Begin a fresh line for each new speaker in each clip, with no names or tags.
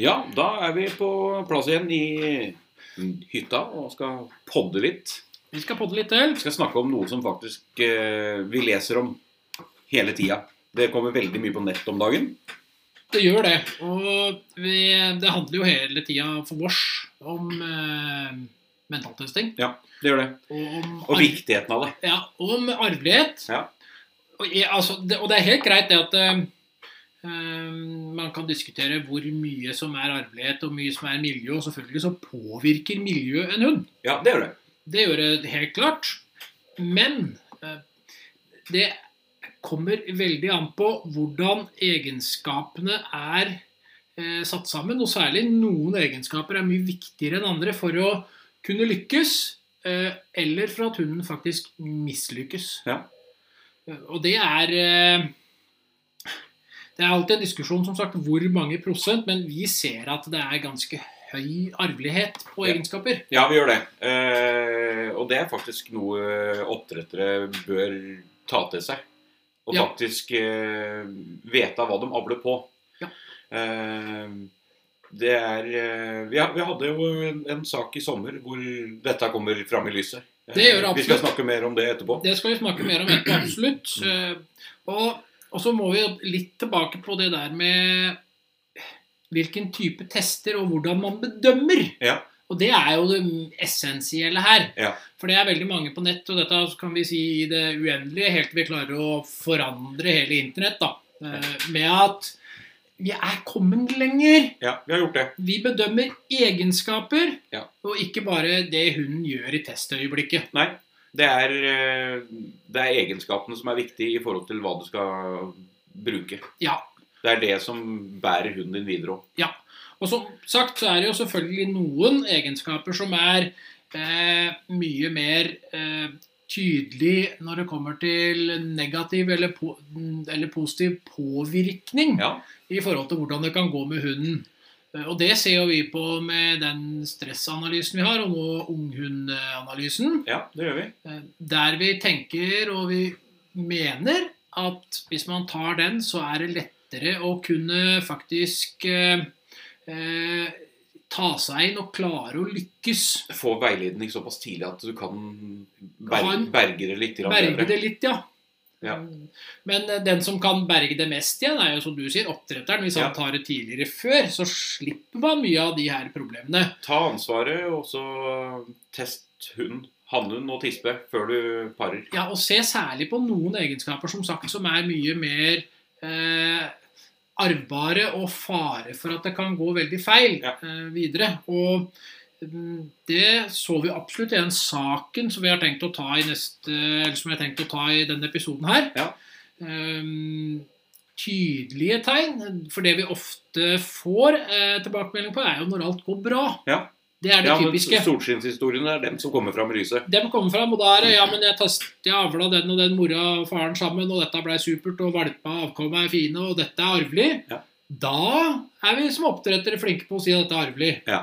Ja, da er vi på plass igjen i hytta og skal podde litt.
Vi skal podde litt til.
Vi skal snakke om noe som faktisk eh, vi leser om hele tida. Det kommer veldig mye på nett om dagen.
Det gjør det. Og vi, det handler jo hele tida for oss om eh, mentaltesting.
Det gjør det.
Og om,
Og
arv-
viktigheten av det.
ja, og om arvelighet.
Ja.
Og, jeg, altså, det, og det er helt greit det at eh, eh, man kan diskutere hvor mye som er arvelighet og mye som er miljø. Og selvfølgelig så påvirker miljø en hund.
Ja, det gjør det.
Det gjør det helt klart. Men eh, det kommer veldig an på hvordan egenskapene er eh, satt sammen. Og særlig noen egenskaper er mye viktigere enn andre for å kunne lykkes. eh, Eller for at hunden faktisk mislykkes.
Ja.
Eh, Og det er eh, Det er alltid en diskusjon som sagt hvor mange prosent, men vi ser at det er ganske høy arvelighet på
Ja.
egenskaper.
Ja, vi gjør det. Eh, og det er faktisk noe oppdrettere bør ta til seg. Og
Ja.
faktisk eh, vite hva de avler på.
Ja.
Eh, det er eh, vi, ha- vi hadde jo en sak i sommer hvor dette kommer fram i lyset. Eh,
Det gjør det
Vi skal
absolutt.
snakke mer om det etterpå.
Det skal vi snakke mer om etterpå, absolutt. Eh, Og, og så må vi jo litt tilbake på det der med hvilken type tester og hvordan man bedømmer.
Ja.
Og det er jo det essensielle her.
Ja.
For det er veldig mange på nett, og dette kan vi si i det uendelige helt til vi klarer å forandre hele internett, da. Eh, Med at vi er kommet lenger.
Ja, vi har gjort det.
Vi bedømmer egenskaper,
Ja.
og ikke bare det hunden gjør i testøyeblikket.
Nei. Det er, eh, det er egenskapene som er viktige i forhold til hva du skal bruke.
Ja,
Det er det som bærer hunden din videre òg.
Ja. Og som sagt så er det jo selvfølgelig noen egenskaper som er eh, mye mer eh, tydelig når det kommer til negativ eller, po eller positiv påvirkning
Ja.
i forhold til hvordan det kan gå med hunden. Eh, Og det ser jo vi på med den stressanalysen vi har, og nå unghundanalysen.
ja, det gjør vi.
Eh, Der vi tenker og vi mener at hvis man tar den, så er det lettere å kunne faktisk eh, eh, ta seg inn og klare å lykkes.
få veiledning såpass tidlig at du kan
Ha
berge,
en-
berge det litt grann
Berge
bedre.
det litt, ja.
Ja.
Men eh, den som kan berge det mest igjen, er jo som du sier, oppdretteren. Hvis
Ja.
han tar det tidligere før, så slipper man mye av de her problemene.
Ta ansvaret, og så test hund, hannhund og tispe før du parer.
Ja, og se særlig på noen egenskaper som sagt som er mye mer eh, arvbare og fare for at det kan gå veldig feil
Ja.
eh, videre. Og mm, det så vi absolutt i den saken som vi har tenkt å ta i neste, eller som jeg har tenkt å ta i denne episoden her.
Ja.
Ehm, tydelige tegn, for det vi ofte får eh, tilbakemelding på, er jo når alt går bra.
Ja.
Det er det
Ja, men
typiske.
Solskinnshistoriene er dem som kommer fram i lyset.
De kommer fram, og da er det Ja, men jeg, test, jeg avla den og den mora og faren sammen, og dette blei supert, og valpa og avkommet er fine, og dette er arvelig.
Ja.
Da er vi som oppdrettere flinke på å si at dette er arvelig.
Ja.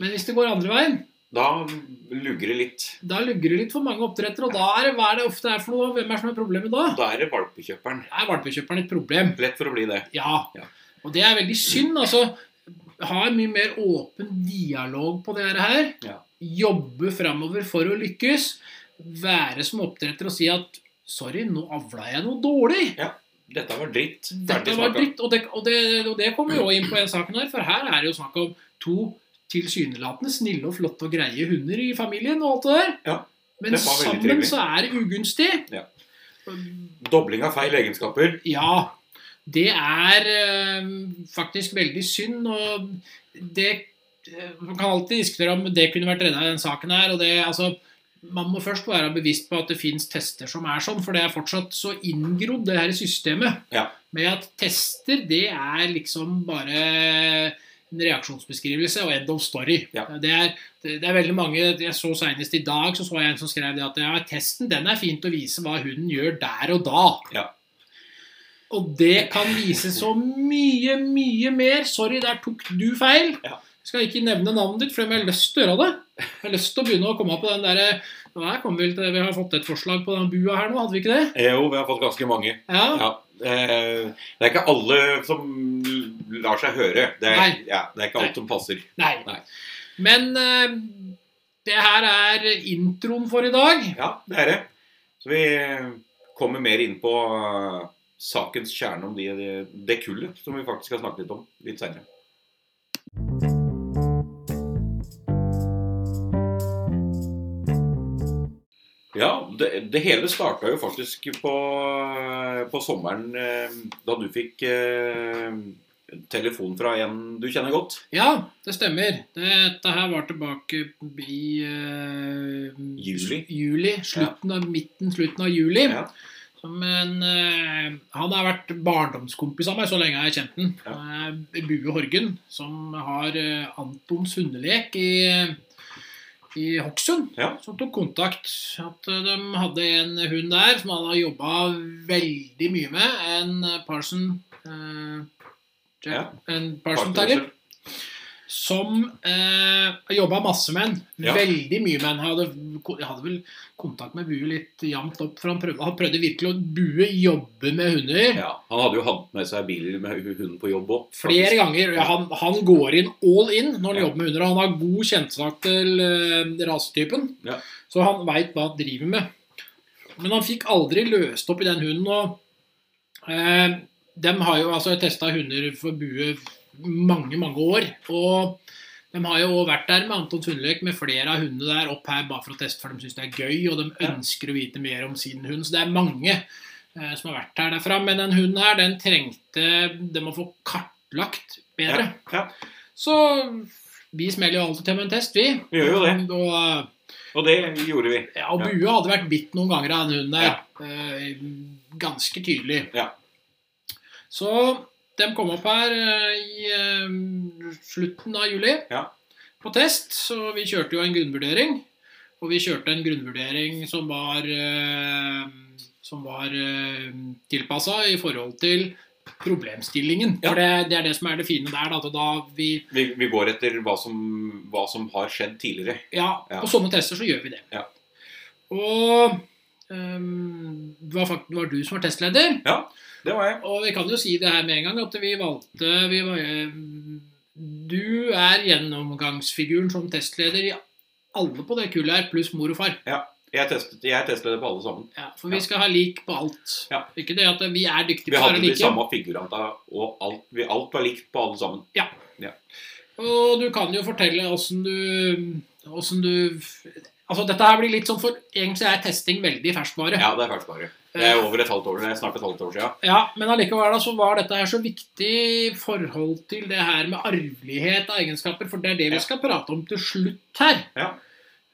Men hvis det går andre veien,
Da lugger det litt.
da lugger det litt for mange oppdrettere, og da er det hva er det ofte er for noe? Hvem er det som er problemet da?
Da er det valpekjøperen.
Da er valpekjøperen et problem.
Lett for å bli det.
Ja.
Ja.
Og det er veldig synd. altså. Ha en mye mer åpen dialog på det her.
Ja.
Jobbe framover for å lykkes. Være som oppdretter og si at Sorry, nå avla jeg noe dårlig.
Dette var dritt. Ferdig
Dette var
snakka.
dritt. Og det, og, det, og det kommer jo inn på den saken her, for her er det jo snakk om to tilsynelatende snille og flotte og greie hunder i familien og alt det der.
Ja,
Men
det var veldig
sammen
trivelig.
så er det ugunstig.
Ja. Dobling av feil egenskaper.
Ja, det er eh, faktisk veldig synd. Og det eh, Man kan alltid diskutere om det kunne vært redda i den saken her. og det, altså, Man må først være bevisst på at det fins tester som er sånn, for det er fortsatt så inngrodd, det her systemet.
Ja.
Med at tester, det er liksom bare en reaksjonsbeskrivelse og end of story.
Ja.
Det, er, det, det er veldig mange jeg så Senest i dag så, så jeg en som skrev det at ja, testen den er fint å vise hva hunden gjør der og da. Og det kan vise så mye, mye mer. Sorry, der tok du feil.
Ja.
Jeg skal ikke nevne navnet ditt, for jeg har lyst til å gjøre det. Jeg har lyst til å begynne å komme på den derre
Eh,
Nå her kommer vi vel til Vi har fått et forslag på den bua her nå, hadde vi ikke det?
Jo, vi har fått ganske mange.
Ja.
Ja. eh, Det er ikke alle som lar seg høre. Det er,
Nei.
ja, det er ikke
Nei.
alt som passer.
Nei.
Nei.
Men eh, det her er introen for i dag.
Ja, det er det. Så vi kommer mer inn på eh, sakens kjerne om de, de, det kullet som vi faktisk skal snakke litt om litt seinere. Ja, det, det hele starta jo faktisk på, på sommeren eh, da du fikk eh, telefon fra en du kjenner godt.
Ja, det stemmer. Dette her var tilbake i eh,
Juli.
juli slutten av, midten, slutten av juli.
Ja.
Men eh, han har vært barndomskompis av meg så lenge jeg har kjent den. Eh, Bue Horgen, som har eh, Antons hundelek i, i Hokksund,
Ja.
som tok kontakt. At eh, de hadde en hund der som han har jobba veldig mye med. En eh, Parson eh,
Ja.
En Parson Terrier. Som eh, jobba masse med den.
Ja.
Veldig mye med den. Jeg hadde, jeg hadde vel kontakt med Bue litt jevnt opp, for han prøvde, han prøvde virkelig å Bue jobbe med hunder.
Ja, Han hadde jo hatt med seg biler med hu- hunden på jobb òg.
Flere ganger. Ja, han, han går inn all in når han
Ja.
jobber med hunder. og Han har god kjennskap til eh, rasetypen,
Ja.
så han veit hva han driver med. Men han fikk aldri løst opp i den hunden. Og, eh, dem har jo altså testa hunder for bue mange, mange år. Og de har jo også vært der med Antons hundelek med flere av hundene der opp her bare for å teste, for de syns det er gøy, og de
Ja.
ønsker å vite mer om sin hund. Så det er mange eh, som har vært her derfra. Men den hunden her, den trengte de å få kartlagt bedre.
Ja, ja.
Så vi smeller jo alltid til med en test, vi.
Vi gjør jo det.
Og, eh,
Og det gjorde vi.
ja, og Bue hadde vært bitt noen ganger av den hunden der. Eh, ganske tydelig.
Ja.
Så de kom opp her eh, i eh, slutten av juli
Ja.
på test, så vi kjørte jo en grunnvurdering. Og vi kjørte en grunnvurdering som var, eh, som var eh, tilpassa i forhold til problemstillingen.
Ja.
For det, det er det som er det fine der. Da, at da vi
Vi, vi går etter hva som, hva som har skjedd tidligere.
Ja,
Ja.
på sånne tester så gjør vi det.
Ja.
Og ehm, det var, fakt- det var du som var testleder.
Ja, det var jeg.
Og vi kan jo si det her med en gang at vi valgte vi var, ehm, Du er gjennomgangsfiguren som testleder i alle på det kullet her, pluss mor og far.
Jeg testet, jeg testet det på alle sammen.
Ja, for vi
Ja.
skal ha lik på alt.
Ja.
Ikke det at vi er dyktige
Vi
på å være
hadde de
like.
samme figuranta, og alt, vi, alt var likt på alle sammen.
Og du kan jo fortelle åssen du Åssen du Altså, dette her blir litt sånn for Egentlig er testing veldig ferskvare.
Ja, det er ferskvare. Det er over et halvt år, det er snart et halvt år siden.
Ja, men allikevel da, så var dette her så viktig i forhold til det her med arvelighet av egenskaper, for det er det
Ja.
vi skal prate om til slutt her.
Ja.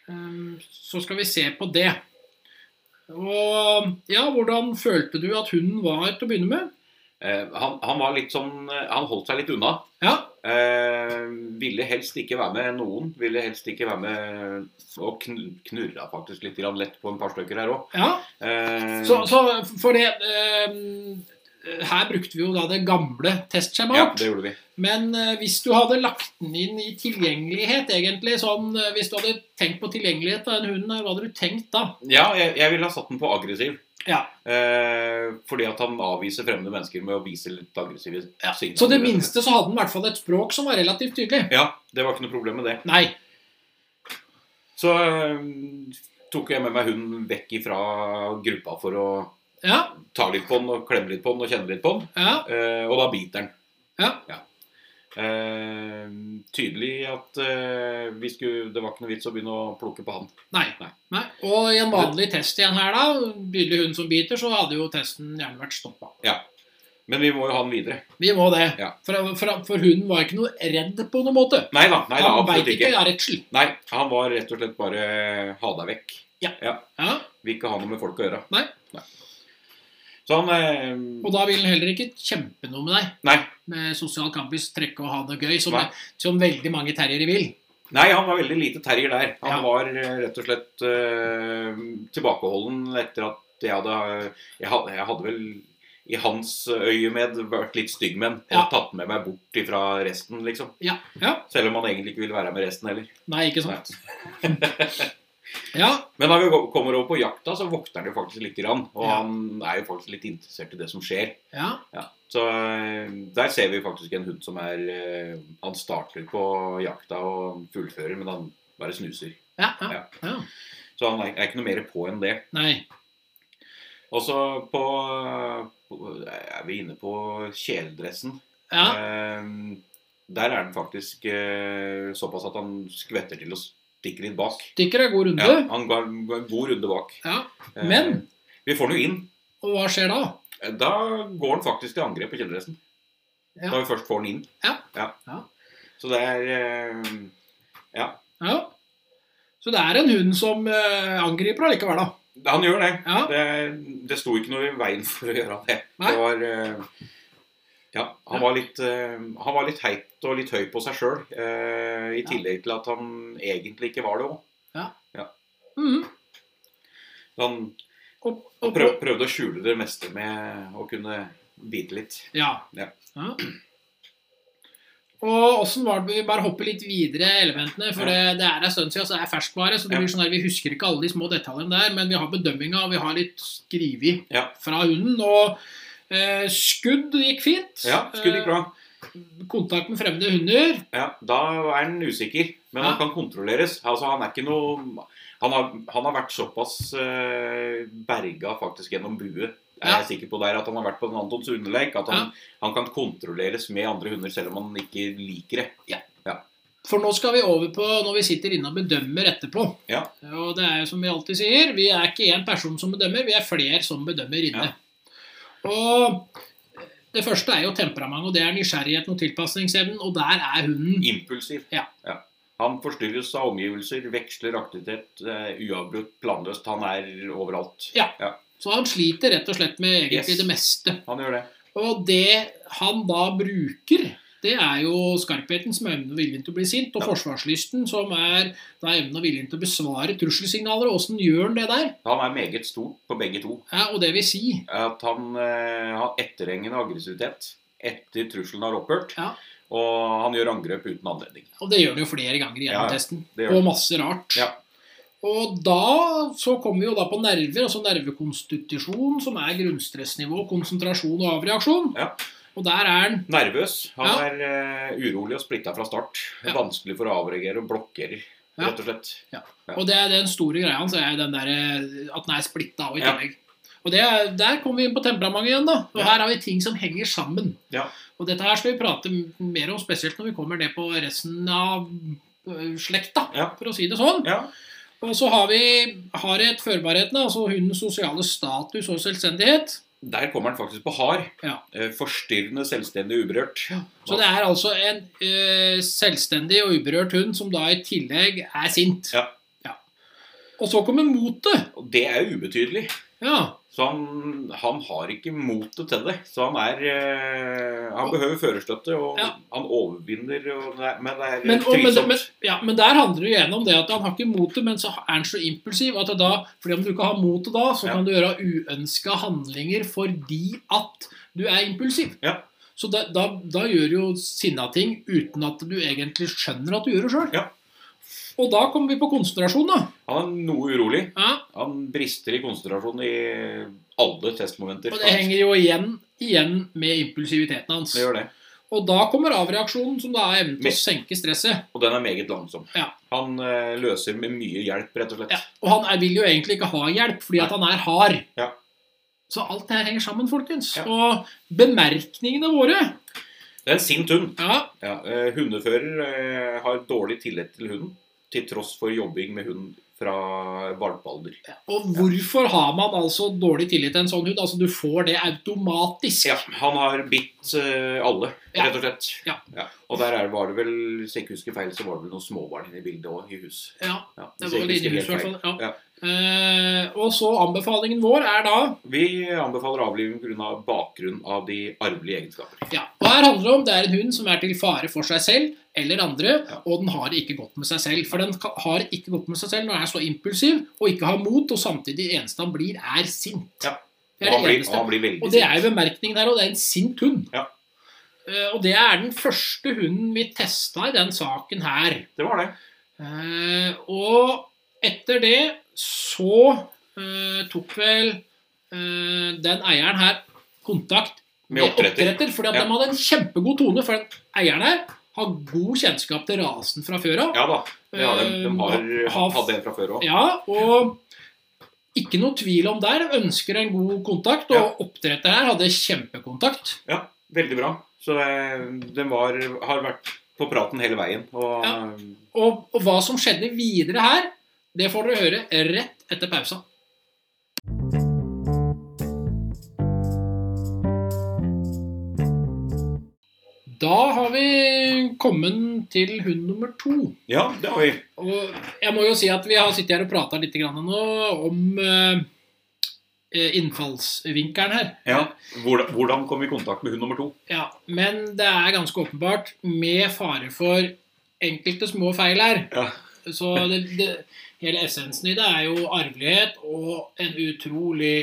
Ehm, Så skal vi se på det. Og ja, hvordan følte du at hunden var til å begynne med?
Eh, han, han var litt sånn eh, Han holdt seg litt unna.
Ja,
Eh, ville helst ikke være med noen. Ville helst ikke være med Og kn- knurra faktisk litt grann lett på en par stykker her òg.
ja.
Eh,
Så, så for det ehm, Her brukte vi jo da det gamle
ja,
testskjemaet.
det gjorde vi.
Men eh, hvis du hadde lagt den inn i tilgjengelighet, egentlig sånn, eh, Hvis du hadde tenkt på tilgjengelighet av den hunden, her, hva hadde du tenkt da?
Ja, jeg, jeg ville ha satt den på aggressiv.
Ja.
Eh, fordi at han avviser fremmede mennesker med å vise litt aggressive signaler.
Så det minste så hadde den i hvert fall et språk som var relativt tydelig.
Ja, det var ikke noe problem med det.
Nei.
Så eh, tok jeg med meg hunden vekk ifra gruppa for å
Ja,
ta litt på den og klemme litt på den og kjenne litt på den.
ja,
Eh, og da biter den.
Ja.
Eh, tydelig at eh, vi skulle, det var ikke noe vits å begynne å plukke på han.
nei.
Nei.
nei. Og i en vanlig test igjen her, da, begynner hun som biter, så hadde jo testen gjerne vært stoppa.
Men vi må jo ha den videre.
Vi må det.
Ja.
For, for, for hun var ikke noe redd på noen måte.
Nei da, nei da
Han
absolutt
veit
ikke.
ikke av redsel.
Nei, han var rett og slett bare eh, ha deg vekk.
Ja.
Vil ikke ha noe med folk å gjøre.
Nei.
Så han eh,
Og da vil han heller ikke kjempe noe med deg.
Nei.
Med sosial campus, trekke og ha det gøy, som,
Nei.
som veldig mange terriere vil.
Nei, han var veldig lite terrier der. Han
Ja.
var eh, rett og slett eh, tilbakeholden etter at jeg hadde Jeg hadde, jeg hadde vel i hans øyemed vært litt stygg med han
Ja.
og tatt med meg bort ifra resten, liksom.
Ja. ja.
Selv om han egentlig ikke ville være med resten heller.
Nei, ikke sant. Ja,
Men når vi go- kommer over på jakta, så vokter han jo faktisk litt. Grann, og
Ja.
han er jo faktisk litt interessert i det som skjer.
ja.
Så eh, der ser vi faktisk en hund som er eh, Han starter på jakta og fullfører, men han bare snuser.
ja, ja,
Ja.
ja.
Så han er, er ikke noe mer på enn det.
Nei.
Og så på, på Er vi inne på kjeledressen?
Ja.
Eh, der er den faktisk eh, såpass at han skvetter til og stikker litt bak.
Stikker en god
Ja,
runde.
han går, går en god runde bak.
Ja.
Eh,
Men-
Vi får den jo inn.
Og hva skjer da?
Da går han faktisk til angrep på kjeledressen.
Ja.
Da vi først får den inn.
Ja. Ja.
Så det er eh, Ja.
Ja. Så det er en hund som eh, angriper allikevel, da.
Han gjør det.
Ja.
det. Det sto ikke noe i veien for å gjøre det.
Nei.
Det var eh, Ja, han
Ja.
var litt eh, Han var litt heit og litt høy på seg sjøl. I
Ja.
tillegg til at han egentlig ikke var det òg.
Mhm.
Han
Og,
han
og,
prøv, prøvde å skjule det meste med å kunne bite litt.
Ja.
Ja.
Ja. Og åssen var det Vi bare hopper litt videre i elementene. For det, det er en stund siden, så det er ferskvare. Så det
Ja.
blir sånn der, vi husker ikke alle de små detaljene der, men vi har bedømminga, og vi har litt skrevet
Ja.
fra hunden. Og eh, skudd gikk fint.
Ja, skudd gikk bra.
Eh, kontakt med fremmede hunder.
Ja, da er han usikker, men
Ja.
han kan kontrolleres. Altså, han er ikke noe Han har, han har vært såpass eh, berga faktisk gjennom bue, er
Ja.
jeg sikker på der, at han har vært på en Antons underlek. At han, han kan kontrolleres med andre hunder selv om han ikke liker det.
For nå skal vi over på når vi sitter inne og bedømmer etterpå.
Ja.
Og det er jo som vi alltid sier, vi er ikke én person som bedømmer, vi er flere som bedømmer inne. Og det første er jo temperament, og det er nysgjerrigheten og tilpasningsevnen, og der er hunden.
Impulsiv.
Ja.
Han forstyrres av omgivelser, veksler aktivitet eh, uavbrutt, planløst. Han er overalt.
Så han sliter rett og slett med egentlig
Yes.
det meste.
Han gjør det.
Og det han da bruker, det er jo skarpheten som er evnen og viljen til å bli sint, og
Ja.
forsvarslysten som er da evnen og viljen til å besvare trusselsignaler. Og åssen gjør han det der?
Han er meget stor på begge to.
Ja, og det vil si
at han eh, har etterhengende aggressivitet etter trusselen har opphørt.
Ja.
Og han gjør angrep uten anledning.
Og det gjør det jo flere ganger
Ja,
gjennom
ja,
testen.
det gjør det.
Og masse rart.
Ja.
Og da så kommer vi jo da på nerver, altså nervekonstitusjon, som er grunnstressnivå, konsentrasjon og avreaksjon.
Ja.
Og der er den.
Nervøs. Han
Ja.
er eh, urolig og splitta fra start.
Ja.
Vanskelig for å avreagere og blokkerer,
Ja.
rett og slett. Ja.
Og det er den store greia hans, er den der, eh, at den er splitta av i
Ja.
tillegg. Og det er, Der kommer vi inn på temperamentet igjen. da. Og
Ja.
Her har vi ting som henger sammen.
Ja.
Og Dette her skal vi prate m- mer om, spesielt når vi kommer ned på resten av eh, slekta,
Ja.
for å si det sånn.
Ja.
Og så har vi hardhet, førbarheten, altså hundens sosiale status og selvstendighet.
Der kommer han faktisk på hard.
Ja.
Eh, Forstyrrende, selvstendig, uberørt.
Så det er altså en eh, selvstendig og uberørt hund som da i tillegg er sint.
Ja.
Ja. Og så kommer motet.
Og det er ubetydelig.
Ja.
Så han, han har ikke motet til det. Så han er eh, Han
Og-
behøver førerstøtte, og
Ja.
han overvinner, og det er, men det er
Men, og, men,
Eh, tvilsomt.
men, ja, men der handler det jo igjen om det at han har ikke motet, men så er han så impulsiv at det da, fordi om du ikke har motet da, så
Ja.
kan du gjøre uønska handlinger fordi at du er impulsiv.
Ja.
Så da, da, da gjør du jo sinna ting uten at du egentlig skjønner at du gjør det sjøl.
Ja.
Og da kommer vi på konsentrasjon, da.
Han er noe urolig.
Ja,
Han brister i konsentrasjon i alle testmomenter.
og det henger jo igjen, igjen med impulsiviteten hans.
Det gjør det.
Og da kommer avreaksjonen, som da er evnen til å senke stresset.
Og den er meget langsom.
Ja.
Han eh, løser med mye hjelp, rett og slett.
Ja. Og han er, vil jo egentlig ikke ha hjelp, fordi at han er hard.
Ja.
Så alt det her henger sammen, folkens.
Ja.
Og bemerkningene våre
Det er en sint hund.
ja,
Ja. eh, hundefører eh, har dårlig tillit til hunden, til tross for jobbing med hund fra valpealder.
Og hvorfor har man altså dårlig tillit til en sånn hund? Altså, du får det automatisk.
Ja, han har bitt eh, alle,
Ja.
rett og slett.
Ja.
Og der er, var det vel, hvis jeg ikke husker feil, så var det vel noen småbarn inne i bildet òg, i hus.
Ja,
Ja,
det
hvis
var
jeg
vel
ikke
inne i
husker
huset, i hvert
helt
fall. Ja.
Ja.
Eh, og så anbefalingen vår er da
feil. Vi anbefaler avliving pga. Av bakgrunn av de arvelige egenskaper.
ja, Og her handler det om det er en hund som er til fare for seg selv eller andre,
Ja.
og den har det ikke godt med seg selv. For den ka- har det ikke godt med seg selv når den er så impulsiv og ikke har mot, og samtidig det eneste han blir, er sint.
Ja. Og
Det er
han
det
blir, og
eneste.
han blir veldig
Og det er
sint.
jo bemerkningen her, og det er en sint hund.
Ja.
Eh, Og det er den første hunden vi testa i den saken her.
Det var det.
Eh, Og Etter det så eh, tok vel eh, den eieren her kontakt
Med oppdretter.
fordi at
Ja.
de hadde en kjempegod tone. For den eieren her har god kjennskap til rasen fra før av.
Ja da. Ja, de, de har,
Eh, har-
hatt en fra før òg.
Ja, og ikke noe tvil om der. Ønsker en god kontakt, og oppdretter her hadde kjempekontakt.
Veldig bra. Så eh, de var, har vært på praten hele veien. Og eh,
Ja. Og, og hva som skjedde videre her, det får dere høre rett etter pausa. Da har vi kommet til hund nummer to.
ja, det har vi.
Og jeg må jo si at vi har sittet her og prata litt grann nå om eh, innfallsvinkelen her.
Ja. Hvordan, hvordan kom vi i kontakt med hund nummer to?
Ja, Men det er ganske åpenbart, med fare for enkelte små feil her,
Ja.
så det, det, hele essensen i det er jo arvelighet og en utrolig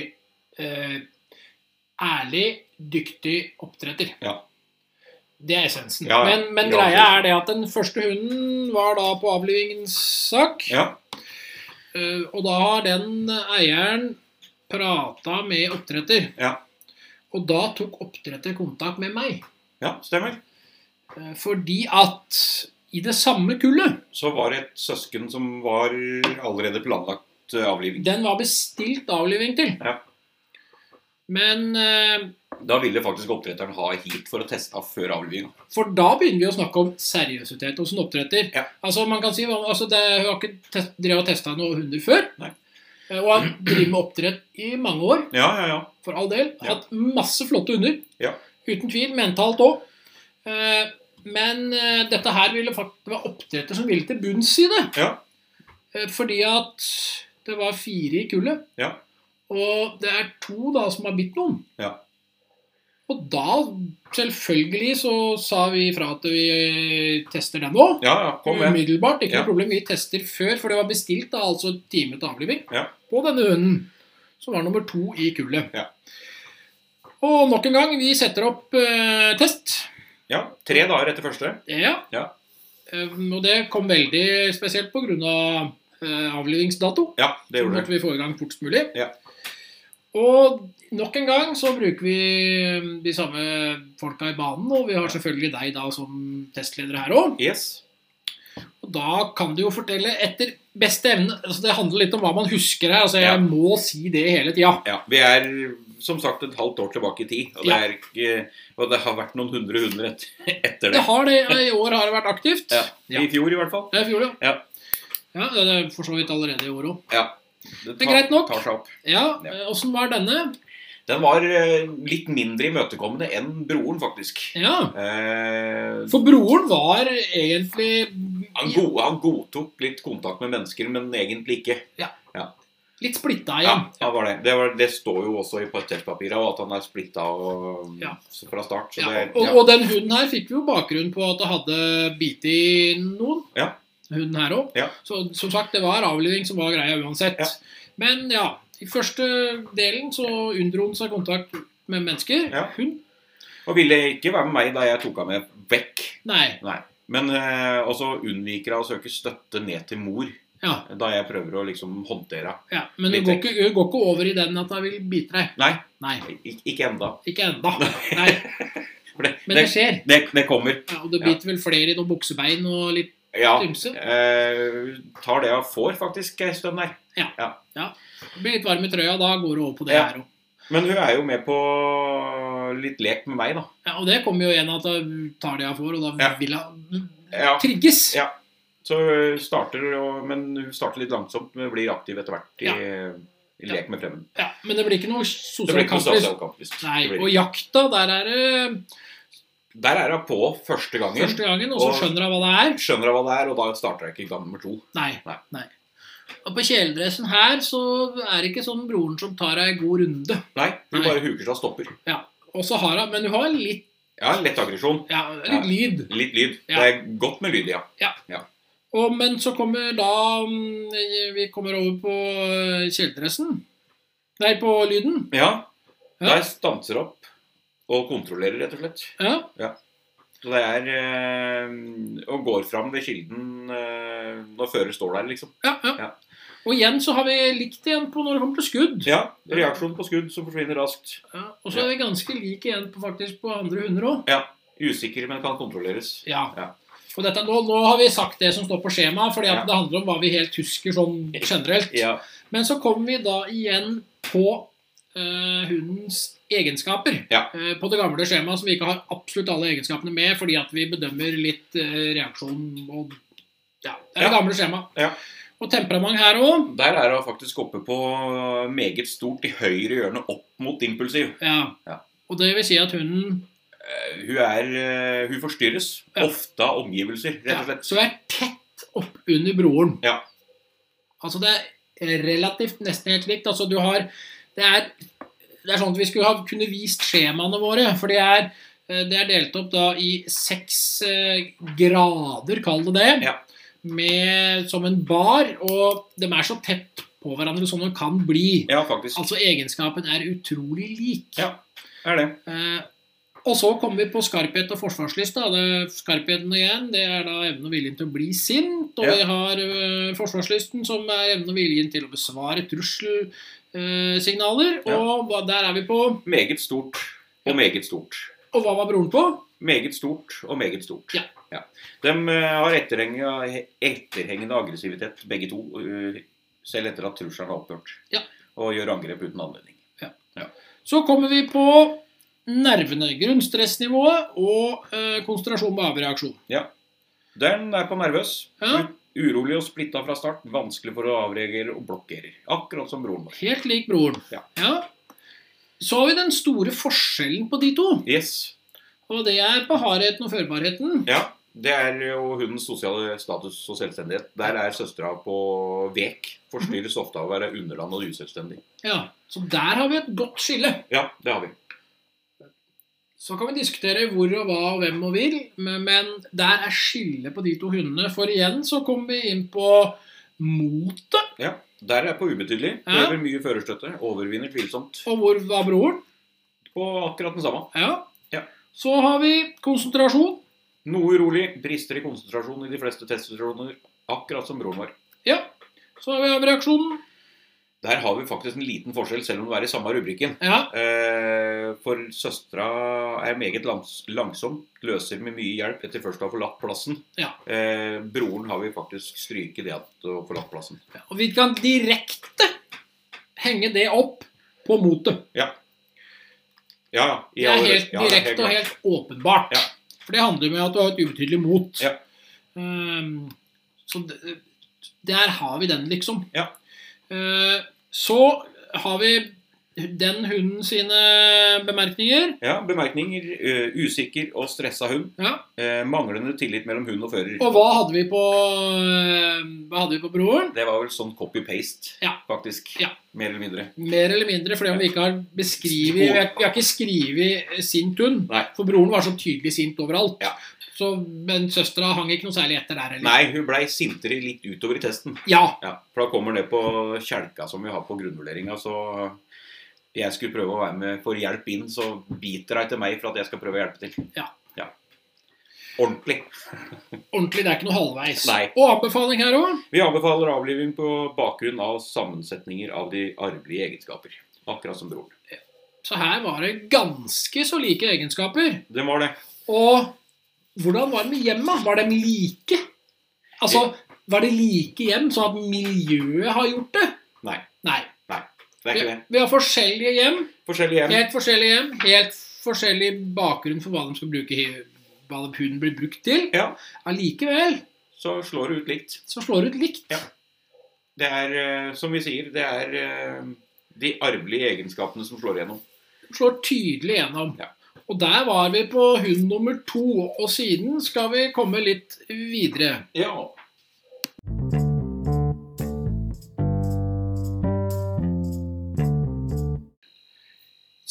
eh, ærlig, dyktig oppdretter.
Ja.
Det er essensen.
Ja, ja.
Men, men
Ja,
greia
absolutt.
er det at den første hunden var da på avlivingens sak.
Ja.
Eh, og da har den eieren prata med oppdretter.
Ja.
Og da tok oppdretter kontakt med meg.
ja, stemmer.
Eh, fordi at i det samme kullet
Så var det et søsken som var allerede planlagt eh, avliving.
Den var bestilt avliving til.
Ja.
Men eh,
Da ville faktisk oppdretteren ha hit for å teste av før avlivinga.
For da begynner vi å snakke om seriøsitet hos en oppdretter.
Ja.
Altså, man kan si, altså, det, Hun har ikke test, drevet og testa noen hunder før.
Nei.
Eh, Og har drevet med oppdrett i mange år,
Ja, ja, ja.
for all del.
Ja.
Hatt masse flotte hunder.
Ja.
Uten tvil. Mentalt òg. Men eh, dette her ville faktisk det var oppdretter som ville til bunns i det.
Ja.
Eh, Fordi at det var fire i kullet.
Ja.
Og det er to da som har bitt noen.
Ja.
Og da, selvfølgelig, så sa vi ifra at vi tester den òg.
Ja, ja, kom igjen.
Umiddelbart. Ikke
Ja.
noe problem. Vi tester før, for det var bestilt da, altså time til avliving
Ja.
på denne hunden. Som var nummer to i kullet.
Ja.
Og nok en gang, vi setter opp eh, test.
Ja, Tre dager etter første.
Ja.
Ja.
Eh, og det kom veldig spesielt pga. Eh, avlivingsdato.
Ja, det
Så
gjorde
måtte
det.
vi få i gang fortest mulig.
Ja.
Og nok en gang så bruker vi eh, de samme folka i banen, og vi har selvfølgelig deg da som testleder her òg.
Yes.
Og da kan du jo fortelle etter beste evne. altså Det handler litt om hva man husker her. altså
Ja.
Jeg må si det hele tida.
Ja, Vi er som sagt et halvt år tilbake i tid, og det,
Ja.
er, ikke- og det har vært noen hundre hunder et, etter
Det
det.
har det, I år har det vært aktivt.
Ja,
Ja.
I fjor i hvert fall.
Det er i fjor, ja.
Ja.
Ja, det er for så vidt allerede i år òg.
Ja. Det,
er greit nok.
tar seg opp.
Ja,
Ja.
eh, åssen var denne?
Den var eh, litt mindre imøtekommende enn broren, faktisk.
Ja.
Eh,
For broren var egentlig
han, go han godtok litt kontakt med mennesker, men egentlig ikke.
litt
Ja,
splitta igjen.
han var det. Det, var, det står jo også i patettpapirene og at han er splitta og-
Ja.
så fra start. Så
Ja,
det,
og,
ja.
og den hunden her fikk jo bakgrunn på at det hadde bitt i noen.
Ja.
Hunden her òg.
Ja.
Så som sagt, det var avliving som var greia uansett.
Ja.
Men ja, i første delen så unndro han seg kontakt med mennesker.
Ja.
Hund?
og ville ikke være med meg da jeg tok ham med vekk.
Nei.
Men eh, også unnviker jeg å søke støtte ned til mor
Ja.
da jeg prøver å liksom håndtere henne.
ja. Men hun
Litt
går, ikke, hun går ikke over i den at hun vil bite deg.
Nei,
Nei.
ik ikke enda.
Ikke enda. Nei.
For det,
Men
det,
det skjer.
det, det kommer.
Ja, og det
Ja.
biter vel flere i noen buksebein og litt
Ja.
ymse.
Eh, tar det jeg får, faktisk, ei stund her.
Blir litt varm i trøya, da går det over på det
Ja.
her òg.
Men hun er jo med på litt lek med meg, da.
Ja, og det kommer jo igjen at hun tar det hun får, og da
Ja.
vil hun
Ja.
trigges.
Ja. Så hun starter, og, men hun starter litt langsomt, men blir aktiv etter hvert i, i lek med fremmed.
Ja, men det blir ikke noe
Det blir
sosial
ikke noe
kampis.
sosial kamplyst. Det
Nei,
blir
og
ikke.
jakta, der er det
Der er hun på første gangen.
første gangen, og så
Og-
skjønner hun hva det er.
Skjønner hun hva det er, og da starter hun ikke gang nummer to.
Nei.
Nei.
nei. Og på kjeledressen her så er det ikke sånn broren som tar ei god runde.
Nei, hun
Nei.
bare huker seg og stopper.
Og så har hun, Men hun har litt,
Ja, lett aggresjon.
ja, litt lyd.
Litt lyd.
Ja.
Det er godt med lyd, ja.
Og, men så kommer da mm, Vi kommer over på eh, kjeledressen. Nei, på lyden.
Ja,
Ja.
der stanser opp og kontrollerer, rett og slett.
Ja.
Så det er eh, Og går fram ved kilden eh, når fører står der, liksom.
Ja, ja.
Ja.
Og igjen så har vi likt igjen på når det kommer til skudd.
Ja, Reaksjon på skudd som forsvinner raskt.
Ja, og så er vi ganske like igjen på, faktisk på andre hunder òg.
Usikker, men kan kontrolleres.
Ja.
Ja.
Og dette, nå, nå har vi sagt det som står på skjemaet, fordi at
Ja.
det handler om hva vi helt husker sånn generelt.
Ja,
Men så kommer vi da igjen på eh, hundens egenskaper.
Ja.
Eh, på det gamle skjemaet som vi ikke har absolutt alle egenskapene med, fordi at vi bedømmer litt eh, reaksjon og Ja. Det er det
Ja.
gamle skjemaet.
Ja.
Og temperament her òg.
Der er hun faktisk oppe på meget stort i høyre hjørne opp mot impulsiv.
Ja.
Ja.
Og det vil si at hunden
Eh, Hun, er, eh, hun forstyrres
Ja.
ofte av omgivelser, rett og
ja,
slett.
så er tett oppunder broren.
Ja.
Altså det er relativt nesten helt likt. Altså du har Det er, det er sånn at vi skulle ha kunne vist skjemaene våre, for det er eh, det er delt opp da i seks eh, grader, kall det det,
Ja.
med, som en bar. Og de er så tett på hverandre som de kan bli.
Ja, faktisk.
Altså egenskapen er utrolig lik.
Ja. Er det.
Eh, og så kommer vi på skarphet og forsvarslyst. da. Det- Skarpheten igjen, det er da evnen og viljen til å bli sint. Og
Ja.
vi har eh, forsvarslysten, som er evnen og viljen til å besvare trusselsignaler.
Ja.
Og hva, der er vi på
Meget stort og meget stort.
Og hva var broren på?
Meget stort og meget stort.
Ja.
De eh, har etterhengende, etterhengende aggressivitet, begge to, eh, selv etter at trusselen har opphørt.
Ja.
Og gjør angrep uten anledning.
Så kommer vi på nervene. Grunnstressnivået og eh, konsentrasjon med avreaksjon.
Den er på nervøs.
Ja.
u- Urolig og splitta fra start. Vanskelig for å avreagere og blokkerer. Akkurat som broren vår.
Helt lik broren.
Ja.
Så har vi den store forskjellen på de to.
Yes.
Og det er på hardheten og førbarheten.
Ja. Det er jo hundens sosiale status og selvstendighet. Der er søstera på vek. Forstyrres
Mhm.
ofte av å være underland og uselvstendig.
Ja, Så der har vi et godt skille.
Ja, det har vi.
Så kan vi diskutere hvor og hva og hvem og vil, men men der er skillet på de to hundene. For igjen så kommer vi inn på motet,
Ja. Der er på ubetydelig.
Ja.
Prøver mye førerstøtte. Overvinner tvilsomt.
og hvor var broren?
På akkurat den samme.
Ja.
Ja.
Så har vi konsentrasjon.
Noe urolig. Brister i konsentrasjon i de fleste testsituasjoner. Akkurat som broren vår.
Ja. Så har vi avreaksjonen.
Der har vi faktisk en liten forskjell, selv om det er i samme rubrikken.
Ja.
Eh, for søstera er meget langs langsom, løser med mye hjelp etter først å ha forlatt plassen.
Ja.
Eh, broren har vi faktisk stryket det at å ha forlatt plassen.
Og vi kan direkte henge det opp på motet.
Ja, ja. i
Det er
alle-
helt
ja, det er
direkte og
klart.
helt åpenbart.
Ja.
For det handler jo om at du har et ubetydelig mot.
Ja.
Ehm, så d- der har vi den, liksom.
Ja.
Eh, så har vi den hunden sine bemerkninger.
Ja, Bemerkninger. eh, usikker og stressa hund.
Ja.
Eh, manglende tillit mellom hund og fører.
Og hva hadde vi på, eh, hva hadde vi på broren?
Det var vel sånn copy-paste,
Ja.
faktisk.
Ja.
Mer eller mindre.
Mer eller mindre, fordi om vi ikke har beskrivet Vi har, vi har ikke skrevet sint hund.
Nei.
For broren var så tydelig sint overalt.
Ja.
Så, men søstera hang ikke noe særlig etter der heller.
Nei, hun blei sintere litt utover i testen.
Ja,
Ja, for da kommer det på kjelka som vi har på grunnvurderinga, så jeg skulle prøve å være med for hjelp inn, så biter hun etter meg for at jeg skal prøve å hjelpe til.
Ja.
Ordentlig.
ordentlig. Det er ikke noe halvveis.
Nei.
Og anbefaling her òg.
Vi anbefaler avliving på bakgrunn av sammensetninger av de arvelige egenskaper. Akkurat som broren.
Så her var det ganske så like egenskaper.
Det var det.
Og hvordan var det med hjemma? Var de like? Altså, var det like hjem, sånn at miljøet har gjort det?
Nei,
Nei.
det er
Vi,
ikke det.
vi har forskjellige hjem.
Forskjellige hjem.
Helt forskjellige hjem. Helt forskjellig bakgrunn for hva de skal bruke he- hva huden blir brukt til.
Ja.
Allikevel
Så slår det ut likt.
så slår det ut likt.
Ja. Det er, eh, som vi sier, det er eh, de arvelige egenskapene som slår igjennom.
Slår tydelig gjennom.
Ja.
Og der var vi på hund nummer to, og siden skal vi komme litt videre.
Ja.